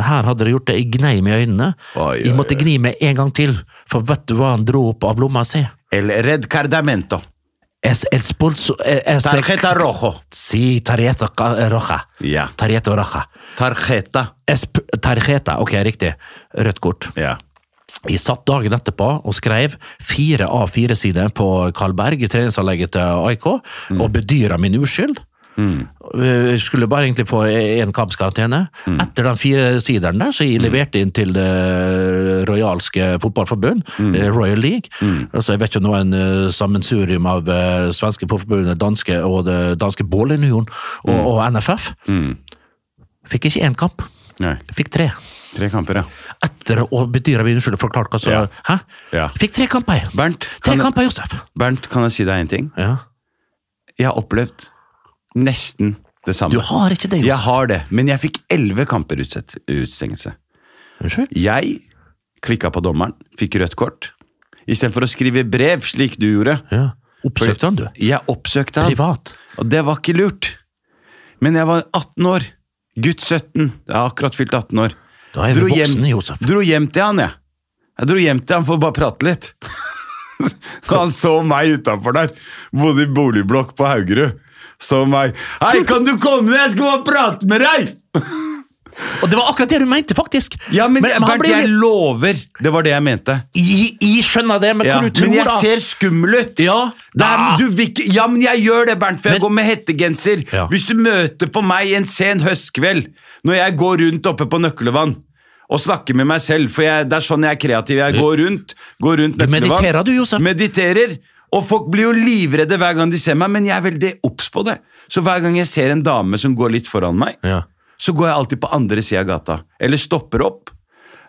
[SPEAKER 5] Her hadde de gjort det. Jeg gnei meg i øynene.
[SPEAKER 4] Oi,
[SPEAKER 5] Jeg
[SPEAKER 4] oi,
[SPEAKER 5] måtte gni meg en gang til, for vet du hva han dro opp av lomma si?
[SPEAKER 4] El red cardamento.
[SPEAKER 5] Es, el spolso, es,
[SPEAKER 4] Tarjeta rojo.
[SPEAKER 5] Si tarjeta ca- roja.
[SPEAKER 4] Ja.
[SPEAKER 5] Tarjeta roja.
[SPEAKER 4] Tarjeta.
[SPEAKER 5] Esp tarjeta, ok, riktig. Rødt kort.
[SPEAKER 4] Ja.
[SPEAKER 5] Jeg satt dagen etterpå og skrev fire av fire sider på Karlberg, i treningsanlegget til AIK, og bedyra min uskyld. Jeg skulle bare egentlig få én kampskarantene. Etter de fire siderne der, så jeg leverte inn til det rojalske fotballforbund, eh, Royal League. Altså, jeg vet ikke om det var en eh, sammensurium av eh, svenske fotballforbundet, danske og det danske Bålunion og, og NFF. Fikk ikke én kamp,
[SPEAKER 4] Nei.
[SPEAKER 5] fikk tre
[SPEAKER 4] Tre kamper, ja.
[SPEAKER 5] etter å bedyre min unnskyld og forklart hva som
[SPEAKER 4] Ja.
[SPEAKER 5] Hæ?
[SPEAKER 4] Ja.
[SPEAKER 5] Fikk tre kamper!
[SPEAKER 4] Bernt,
[SPEAKER 5] Tre
[SPEAKER 4] kan,
[SPEAKER 5] kamper, Josef!
[SPEAKER 4] Bernt, kan jeg si deg en ting?
[SPEAKER 5] Ja.
[SPEAKER 4] Jeg har opplevd nesten det samme.
[SPEAKER 5] Du har ikke det,
[SPEAKER 4] Jeg
[SPEAKER 5] Josef.
[SPEAKER 4] har det, men jeg fikk elleve kamper utsett, utstengelse.
[SPEAKER 5] Unnskyld?
[SPEAKER 4] Jeg klikka på dommeren, fikk rødt kort. Istedenfor å skrive brev, slik du gjorde.
[SPEAKER 5] Ja. Oppsøkte han, du?
[SPEAKER 4] Jeg oppsøkte han,
[SPEAKER 5] Privat?
[SPEAKER 4] og det var ikke lurt. Men jeg var 18 år. Gutt 17. Jeg har akkurat fylt 18 år.
[SPEAKER 5] Da er
[SPEAKER 4] Dro
[SPEAKER 5] vi
[SPEAKER 4] hjem,
[SPEAKER 5] voksne, Josef.
[SPEAKER 4] dro hjem til han, jeg. Jeg dro hjem til han for å bare prate litt. *laughs* Han så meg utafor der. Bodde i boligblokk på Haugerud. Så meg. 'Hei, kan du komme ned? Jeg skal bare prate med deg!'
[SPEAKER 5] Og det var akkurat det du mente, faktisk!
[SPEAKER 4] Ja, men,
[SPEAKER 5] han
[SPEAKER 4] Bernt,
[SPEAKER 5] ble
[SPEAKER 4] jeg
[SPEAKER 5] litt-
[SPEAKER 4] lover. Det var det jeg mente.
[SPEAKER 5] I, I skjønner det, men
[SPEAKER 4] Ja.
[SPEAKER 5] hva du tror
[SPEAKER 4] Men jeg
[SPEAKER 5] da?
[SPEAKER 4] ser skummel ut.
[SPEAKER 5] Ja.
[SPEAKER 4] Nei, men du vil ikke Ja, men jeg gjør det, Bernt, for jeg
[SPEAKER 5] Men-
[SPEAKER 4] går med hettegenser.
[SPEAKER 5] Ja.
[SPEAKER 4] Hvis du møter på meg en sen høstkveld, når jeg går rundt oppe på Nøklevann og snakker med meg selv, for jeg, det er sånn jeg er kreativ. Jeg går rundt, går rundt
[SPEAKER 5] Du
[SPEAKER 4] Nøklevann.
[SPEAKER 5] mediterer, du, Josef.
[SPEAKER 4] Mediterer. Og folk blir jo livredde hver gang de ser meg, men jeg er veldig obs på det. Så hver gang jeg ser en dame som går litt foran meg,
[SPEAKER 5] Ja.
[SPEAKER 4] så går jeg alltid på andre sida av gata. Eller stopper opp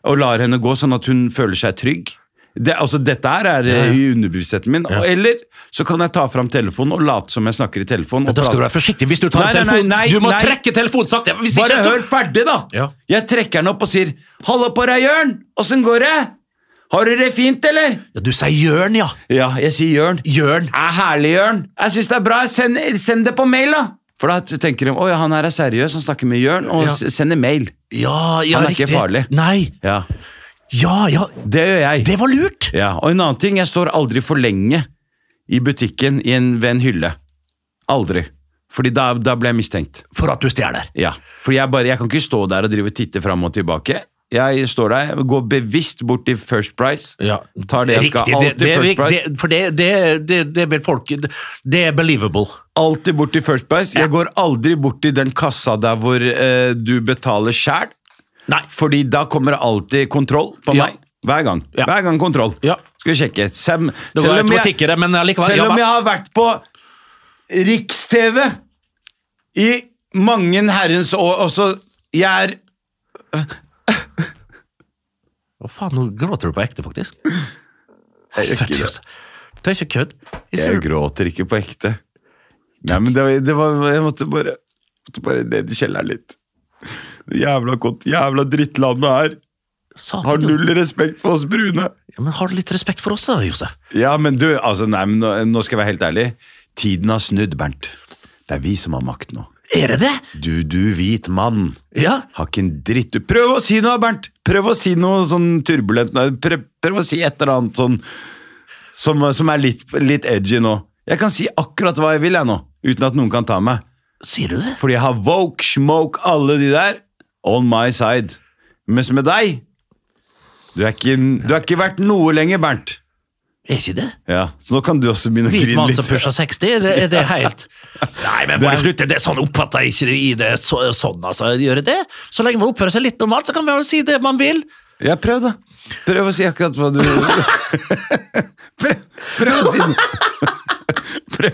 [SPEAKER 4] og lar henne gå, sånn at hun føler seg trygg. Det, altså, dette her er eh, i underbevisstheten min. Og, eller så kan jeg ta fram telefonen og late som jeg snakker i telefonen.
[SPEAKER 5] Men
[SPEAKER 4] Og
[SPEAKER 5] Da skal du
[SPEAKER 4] prate.
[SPEAKER 5] være forsiktig hvis du tar
[SPEAKER 4] Nei, nei,
[SPEAKER 5] telefonen!
[SPEAKER 4] nei, nei,
[SPEAKER 5] du må
[SPEAKER 4] nei.
[SPEAKER 5] trekke telefonen sakte! Hvis
[SPEAKER 4] Bare
[SPEAKER 5] ikke så-
[SPEAKER 4] hør ferdig, da!
[SPEAKER 5] Ja.
[SPEAKER 4] Jeg trekker den opp og sier 'Halla på deg, Jørn! Åssen går det? Har du det fint, eller?'
[SPEAKER 5] Ja, du sier Jørn, ja!
[SPEAKER 4] Ja, jeg sier Jørn.
[SPEAKER 5] Jørn!
[SPEAKER 4] er herlig, Jørn. Jeg syns det er bra. Send, send det på mail, da. For da tenker de at han her er seriøs, han snakker med Jørn, og
[SPEAKER 5] Ja.
[SPEAKER 4] s- sender mail.
[SPEAKER 5] Ja, ja,
[SPEAKER 4] Han er ikke
[SPEAKER 5] riktig.
[SPEAKER 4] farlig.
[SPEAKER 5] Nei!
[SPEAKER 4] Ja,
[SPEAKER 5] Ja, ja,
[SPEAKER 4] Det gjør jeg.
[SPEAKER 5] det var lurt!
[SPEAKER 4] Ja, Og en annen ting, jeg står aldri for lenge i butikken i en, ved en hylle. Aldri. Fordi da, da ble jeg mistenkt.
[SPEAKER 5] For at du stjeler.
[SPEAKER 4] Ja, Fordi jeg bare, jeg kan ikke stå der og drive og titte fram og tilbake. Jeg står der, jeg går bevisst bort til First Price.
[SPEAKER 5] Ja.
[SPEAKER 4] Tar det jeg skal.
[SPEAKER 5] Riktig, det-
[SPEAKER 4] Alltid
[SPEAKER 5] det er viktig,
[SPEAKER 4] First Price.
[SPEAKER 5] det- For det, det, det, det vil folk Det er believable.
[SPEAKER 4] Alltid bort til First Price. Jeg går aldri bort til den kassa der hvor eh, du betaler sjæl.
[SPEAKER 5] Nei.
[SPEAKER 4] Fordi da kommer det alltid kontroll på
[SPEAKER 5] Ja.
[SPEAKER 4] meg. Hver gang.
[SPEAKER 5] Ja.
[SPEAKER 4] Hver gang kontroll.
[SPEAKER 5] Ja.
[SPEAKER 4] Skal vi sjekke. Sem,
[SPEAKER 5] Det var automatikk i det, men allikevel,
[SPEAKER 4] selv
[SPEAKER 5] ja,
[SPEAKER 4] om
[SPEAKER 5] hva-
[SPEAKER 4] jeg har vært på Riks-TV i mange herrens år også Jeg er
[SPEAKER 5] Å faen, nå gråter du på ekte, faktisk. Helvete, altså. Det er ikke kødd. Jeg
[SPEAKER 4] Jeg
[SPEAKER 5] ser-
[SPEAKER 4] gråter ikke på ekte. Nei, men det var, det var Jeg måtte bare, måtte bare ned i kjelleren litt. Det Jævla godt, jævla drittlandet her.
[SPEAKER 5] Satan,
[SPEAKER 4] Har
[SPEAKER 5] du-
[SPEAKER 4] null respekt for oss brune.
[SPEAKER 5] Ja, men har du litt respekt for oss da, Josef?
[SPEAKER 4] Ja, men du, altså, nei, men nå, nå skal jeg være helt ærlig. Tiden har snudd, Bernt. Det er vi som har makt nå.
[SPEAKER 5] Er det det?
[SPEAKER 4] Du, du hvit mann.
[SPEAKER 5] Ja.
[SPEAKER 4] Har ikke en dritt du Prøv å si noe, Bernt! Prøv å si noe sånn turbulent nei, prøv, prøv å si et eller annet sånn som, som er litt, litt edgy nå. Jeg kan si akkurat hva jeg vil, jeg nå, uten at noen kan ta meg.
[SPEAKER 5] Sier du det?
[SPEAKER 4] Fordi jeg har woke, smoke, alle de der on my side. Mens med deg Du er ikke, du er ikke verdt noe lenger, Bernt.
[SPEAKER 5] Er ikke det?
[SPEAKER 4] Ja, så Nå kan du også begynne å
[SPEAKER 5] Hvit
[SPEAKER 4] grine
[SPEAKER 5] mann som
[SPEAKER 4] litt.
[SPEAKER 5] pusher 60, er det, er det helt Nei, men bare
[SPEAKER 4] Det
[SPEAKER 5] slutt. Det er sånn oppfatter jeg ikke i det. Så, sånn, altså. Gjør jeg det? Så lenge man oppfører seg litt normalt, så kan man vel si det man vil.
[SPEAKER 4] Ja, prøv, da. Prøv å si akkurat hva du prøv, *laughs* prøv å si
[SPEAKER 5] *laughs*
[SPEAKER 4] noe. Prøv.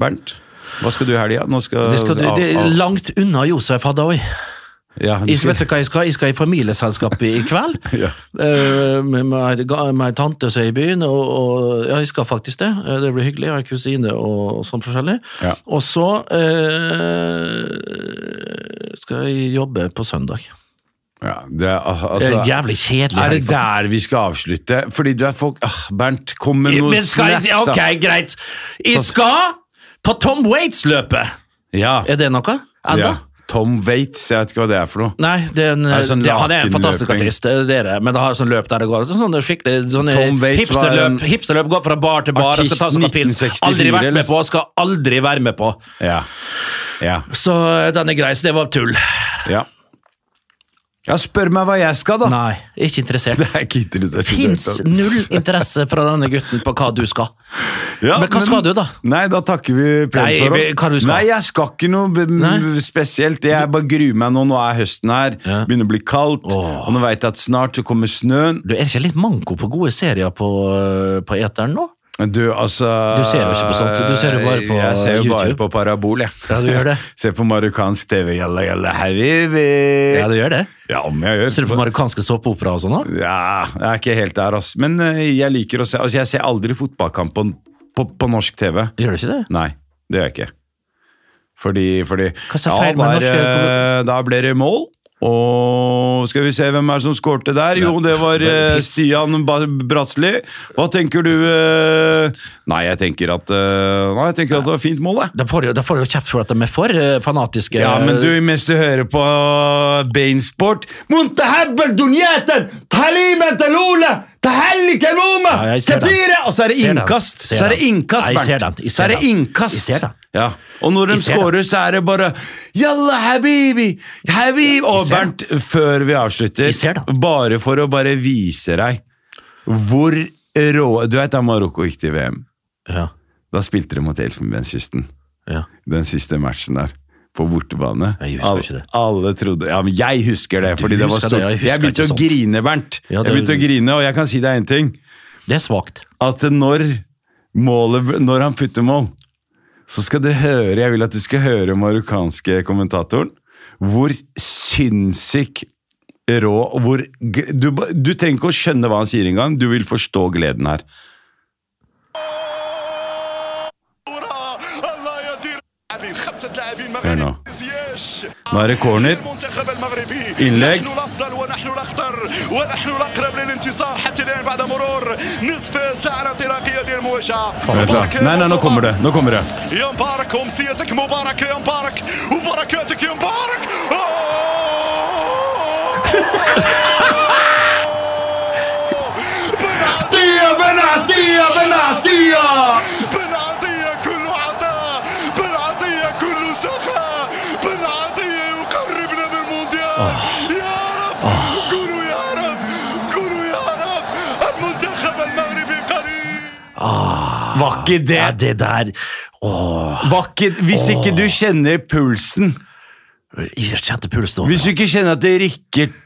[SPEAKER 4] Bernt, hva skal du i helga? Nå skal
[SPEAKER 5] Det, skal, du- det er langt unna Josef Hadaoui.
[SPEAKER 4] Ja, du
[SPEAKER 5] Jeg,
[SPEAKER 4] skal-
[SPEAKER 5] vet du hva jeg skal? Jeg skal i familieselskap i i kveld.
[SPEAKER 4] *laughs* Ja.
[SPEAKER 5] Eh, med med ga- med ei tante som er i byen, og, og ja, jeg skal faktisk det. Eh, Det blir hyggelig. Jeg har en kusine og, og sånn forskjellig.
[SPEAKER 4] Ja.
[SPEAKER 5] Og så eh, skal jeg jobbe på søndag.
[SPEAKER 4] ja, det
[SPEAKER 5] Det
[SPEAKER 4] er,
[SPEAKER 5] er
[SPEAKER 4] altså,
[SPEAKER 5] en jævlig kjedelig.
[SPEAKER 4] er det
[SPEAKER 5] helg, faktisk.
[SPEAKER 4] der vi skal avslutte? Fordi du er folk ah, Bernt, kom med noe
[SPEAKER 5] Men skal jeg,
[SPEAKER 4] snacks, da.
[SPEAKER 5] ok, greit. Jeg skal på Tom Waits-løpet.
[SPEAKER 4] Ja.
[SPEAKER 5] Er det noe? Enda?
[SPEAKER 4] ja. Tom Waits, jeg vet ikke hva det er for noe.
[SPEAKER 5] Nei, det er en,
[SPEAKER 4] Er det sånn
[SPEAKER 5] det, han er en
[SPEAKER 4] lakenløping?
[SPEAKER 5] fantastisk artist, det er dere, men det har sånn løp der det går sånn skikkelig sånne
[SPEAKER 4] Tom Waits var en-
[SPEAKER 5] hipsterløp, hipsterløp går fra bar til bar og skal ta seg en pils.
[SPEAKER 4] 1964,
[SPEAKER 5] Aldri vært
[SPEAKER 4] eller?
[SPEAKER 5] med på, skal aldri være med på.
[SPEAKER 4] Ja. Ja.
[SPEAKER 5] Så den er grei, så det var tull.
[SPEAKER 4] ja. Ja, spør meg hva jeg skal, da! *laughs*
[SPEAKER 5] Nei, ikke interessert.
[SPEAKER 4] Det er ikke interessant. i det hele
[SPEAKER 5] Fins
[SPEAKER 4] tatt.
[SPEAKER 5] null interesse fra denne gutten på hva du skal.
[SPEAKER 4] Ja,
[SPEAKER 5] Men hva skal du da?
[SPEAKER 4] Nei, da takker vi
[SPEAKER 5] Nei,
[SPEAKER 4] pent for
[SPEAKER 5] vi- hva du
[SPEAKER 4] oss.
[SPEAKER 5] skal?
[SPEAKER 4] Nei, jeg skal ikke noe b- m-
[SPEAKER 5] Nei.
[SPEAKER 4] spesielt. Jeg bare gruer meg nå. Nå er høsten her.
[SPEAKER 5] Ja.
[SPEAKER 4] Begynner å bli kaldt.
[SPEAKER 5] Åh.
[SPEAKER 4] Og nå veit jeg at snart så kommer snøen.
[SPEAKER 5] Du er ikke litt manko på gode serier på, eh, på eteren nå?
[SPEAKER 4] Du, altså
[SPEAKER 5] Du ser jo ikke på sånt. Du ser jo bare på
[SPEAKER 4] Jeg ser jo
[SPEAKER 5] YouTube.
[SPEAKER 4] bare på Parabol, jeg.
[SPEAKER 5] Ja, du gjør
[SPEAKER 4] *laughs*
[SPEAKER 5] det.
[SPEAKER 4] ser på marokkansk TV. Jalla, jalla, habibi.
[SPEAKER 5] Ja,
[SPEAKER 4] Ja,
[SPEAKER 5] du gjør det.
[SPEAKER 4] om jeg gjør.
[SPEAKER 5] Ser du på marokkanske såpeoperaer og sånn òg?
[SPEAKER 4] Ja, jeg er ikke helt der, ass. Men eh, jeg liker å se Altså, jeg ser aldri fotballkamp på, på, på norsk TV.
[SPEAKER 5] Gjør du ikke det?
[SPEAKER 4] Nei, det gjør jeg ikke. Fordi, fordi
[SPEAKER 5] Hva sa feil med norske
[SPEAKER 4] eh, da ble det mål. Og skal vi se hvem er det som skårte der? Jo, det var eh, Stian Ba- Bratsli. Hva tenker du eh? Nei, jeg tenker at eh, Nei, jeg tenker at det var fint mål, jeg.
[SPEAKER 5] Da får de jo- da får de jo kjeft for at de er for eh, fanatiske.
[SPEAKER 4] Ja, men du, mens du hører på Bainsport Muntahabbel dunjeten! Taliben til Ole! Tahelliken Ome!
[SPEAKER 5] Ja, jeg ser den.
[SPEAKER 4] Tefire! Og så er det
[SPEAKER 5] Ser den.
[SPEAKER 4] innkast!
[SPEAKER 5] Ser
[SPEAKER 4] Så er det
[SPEAKER 5] den.
[SPEAKER 4] innkast,
[SPEAKER 5] Ja, jeg ser
[SPEAKER 4] Bernt.
[SPEAKER 5] den. Jeg
[SPEAKER 4] Så
[SPEAKER 5] ser
[SPEAKER 4] er det
[SPEAKER 5] den.
[SPEAKER 4] innkast.
[SPEAKER 5] Jeg ser den.
[SPEAKER 4] Ja. Og når de
[SPEAKER 5] Jeg ser den.
[SPEAKER 4] scorer, så er det bare Jalla, habibi! Habibi! Og
[SPEAKER 5] ser den.
[SPEAKER 4] Bernt, før vi avslutter,
[SPEAKER 5] Jeg ser den.
[SPEAKER 4] bare for å bare vise deg hvor rå Du vet da Marokko gikk til VM?
[SPEAKER 5] ja,
[SPEAKER 4] Da spilte de mot Elfenbenskysten
[SPEAKER 5] ja.
[SPEAKER 4] den siste matchen der. På bortebane.
[SPEAKER 5] Jeg husker
[SPEAKER 4] alle,
[SPEAKER 5] ikke det.
[SPEAKER 4] alle trodde Ja, men jeg husker det! fordi det var
[SPEAKER 5] husker
[SPEAKER 4] stort.
[SPEAKER 5] det, jeg
[SPEAKER 4] Jeg,
[SPEAKER 5] husker
[SPEAKER 4] begynte
[SPEAKER 5] ikke
[SPEAKER 4] å
[SPEAKER 5] sånt.
[SPEAKER 4] grine, Bernt.
[SPEAKER 5] Ja,
[SPEAKER 4] Jeg
[SPEAKER 5] det-
[SPEAKER 4] begynte å grine, Og jeg kan si deg én ting.
[SPEAKER 5] Det er svakt.
[SPEAKER 4] At når, målet, når han putter mål, så skal du høre Jeg vil at du skal høre marokkanske kommentatoren. Hvor sinnssyk rå og hvor, g- du, ba- du trenger ikke å skjønne hva han sier engang. Du vil forstå gleden her.
[SPEAKER 6] الله يدير لاعبين خمسه لاعبين
[SPEAKER 4] Hør nå.
[SPEAKER 6] مغرب زياش
[SPEAKER 4] Nå er det corner.
[SPEAKER 6] المنتخب المغربي
[SPEAKER 4] إنلاج.
[SPEAKER 6] نحن الافضل ونحن الاخطر ونحن الاقرب للانتصار حتى الان بعد مرور نصف ساعه انطلاقيه ديال المواجهه
[SPEAKER 4] Vent da.
[SPEAKER 6] مبارك يا
[SPEAKER 4] Nei, nei, nå
[SPEAKER 6] مصطفى.
[SPEAKER 4] kommer det. Nå kommer det.
[SPEAKER 6] يا مبارك امسيتك مباركه يا مبارك وبركاتك يا مبارك أوه! بالعطية كل عطاء بالعطية كل سخاء بالعطية يقربنا من المونديال يا رب قولوا يا رب قولوا يا رب المنتخب المغربي قريب
[SPEAKER 4] Var ikke det
[SPEAKER 5] Ja, det der Åh,
[SPEAKER 4] Var ikke, hvis ikke du kjenner pulsen,
[SPEAKER 5] jeg kjente pulsen over.
[SPEAKER 4] hvis du ikke kjenner at det rykker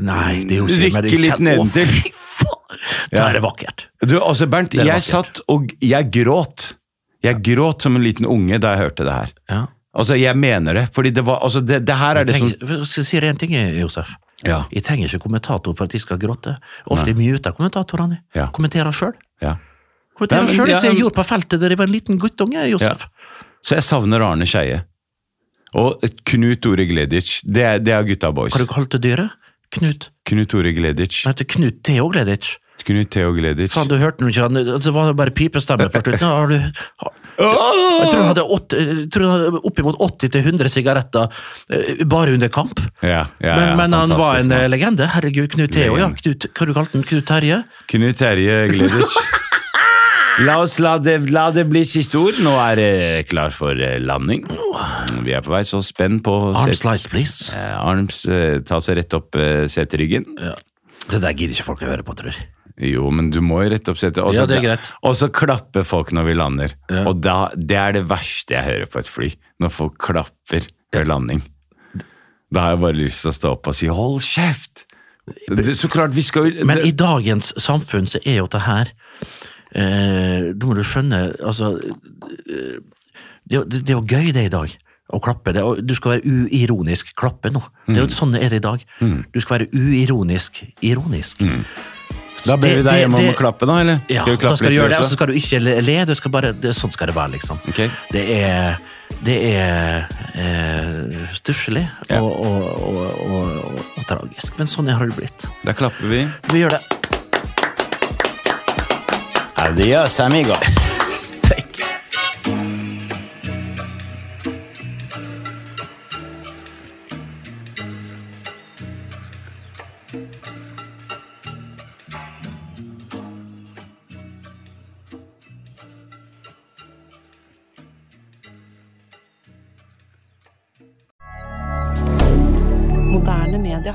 [SPEAKER 5] Nei, det er jo ikke
[SPEAKER 4] Rykke
[SPEAKER 5] men jeg kjenner-
[SPEAKER 4] litt nedentil.
[SPEAKER 5] Å, fy faen! Det
[SPEAKER 4] Ja.
[SPEAKER 5] her er vakkert.
[SPEAKER 4] Du, altså Bernt,
[SPEAKER 5] er
[SPEAKER 4] jeg
[SPEAKER 5] vakkert.
[SPEAKER 4] satt og jeg gråt. Jeg gråt som en liten unge da jeg hørte det her.
[SPEAKER 5] Ja.
[SPEAKER 4] Altså, jeg mener det, fordi det var Altså, det, det her er
[SPEAKER 5] Jeg
[SPEAKER 4] det som
[SPEAKER 5] trenger, skal jeg si deg en ting, Josef?
[SPEAKER 4] Ja.
[SPEAKER 5] Jeg trenger ikke kommentator for at de skal gråte. Ofte muter kommentatorene.
[SPEAKER 4] Ja.
[SPEAKER 5] Kommenterer sjøl.
[SPEAKER 4] ja. Nei,
[SPEAKER 5] Kommenterer
[SPEAKER 4] men
[SPEAKER 5] sjøl,
[SPEAKER 4] jeg-
[SPEAKER 5] som jeg gjorde på feltet da jeg var en liten guttunge, Josef.
[SPEAKER 4] Så jeg savner Arne Skeie. Og Knut Ore Gledic. Det er, det er gutta boys.
[SPEAKER 5] Hva du kalte dyret? Knut.
[SPEAKER 4] Knut Ore Gledic.
[SPEAKER 5] Han heter Knut Theo Gledic.
[SPEAKER 4] Knut Theo Gledic.
[SPEAKER 5] Faen, du hørte nå ikke han Det var bare pipestemme på slutten. Nå Har du, har,
[SPEAKER 4] Åh!
[SPEAKER 5] jeg tror han hadde, åtte- jeg tror han hadde oppimot 80-100 sigaretter eh, bare under kamp.
[SPEAKER 4] Ja, ja,
[SPEAKER 5] men
[SPEAKER 4] ja,
[SPEAKER 5] men han var
[SPEAKER 4] fantastisk
[SPEAKER 5] en eh,
[SPEAKER 4] mann.
[SPEAKER 5] legende. Herregud, Knut Theo, ja.
[SPEAKER 4] Legende.
[SPEAKER 5] Knut, hva du kalte han? Knut Terje?
[SPEAKER 4] Knut Terje Gledic.
[SPEAKER 5] *laughs*
[SPEAKER 4] La oss la det, la det bli siste ord. Nå er det klar for eh, landing. Vi er på vei, så spenn på
[SPEAKER 5] Arm
[SPEAKER 4] set-
[SPEAKER 5] slice, please.
[SPEAKER 4] eh, Arms eh, ta seg rett opp eh, seteryggen.
[SPEAKER 5] Det der gidder ikke folk å høre på, tror jeg.
[SPEAKER 4] Jo, men du må jo rette opp setet. Og så-
[SPEAKER 5] Ja, det er greit.
[SPEAKER 4] Og så klapper folk når vi lander. Og da, det er det verste jeg hører på et fly. Når folk klapper ved landing. Da har jeg bare lyst til å stå opp og si 'hold kjeft'! Det, så klart, vi skal jo
[SPEAKER 5] Men
[SPEAKER 4] det-
[SPEAKER 5] i dagens samfunn så er jo det her eh, Du må du skjønne Altså eh, det, er jo- det, det er jo gøy, det, i dag. Å klappe. Det, er- og du skal være uironisk klappe nå. Det er
[SPEAKER 4] Mm.
[SPEAKER 5] jo Sånn er det i dag. Du skal være uironisk ironisk.
[SPEAKER 4] Mm. Da ber vi
[SPEAKER 5] det-
[SPEAKER 4] deg
[SPEAKER 5] det-
[SPEAKER 4] hjemme om å
[SPEAKER 5] det-
[SPEAKER 4] klappe, da? eller?
[SPEAKER 5] Ja,
[SPEAKER 4] vi klappe
[SPEAKER 5] da skal
[SPEAKER 4] litt
[SPEAKER 5] du gjøre det,
[SPEAKER 4] også?
[SPEAKER 5] og så skal du ikke le. le, Du skal bare, det, sånn skal det være, liksom.
[SPEAKER 4] Ok.
[SPEAKER 5] Det er, det er eh, stusslig
[SPEAKER 4] Ja.
[SPEAKER 5] og, og, og, og, og, og tragisk, men sånn har det blitt.
[SPEAKER 4] Da klapper vi.
[SPEAKER 5] Vi gjør det.
[SPEAKER 4] Adios, amigo.
[SPEAKER 7] Moderne media.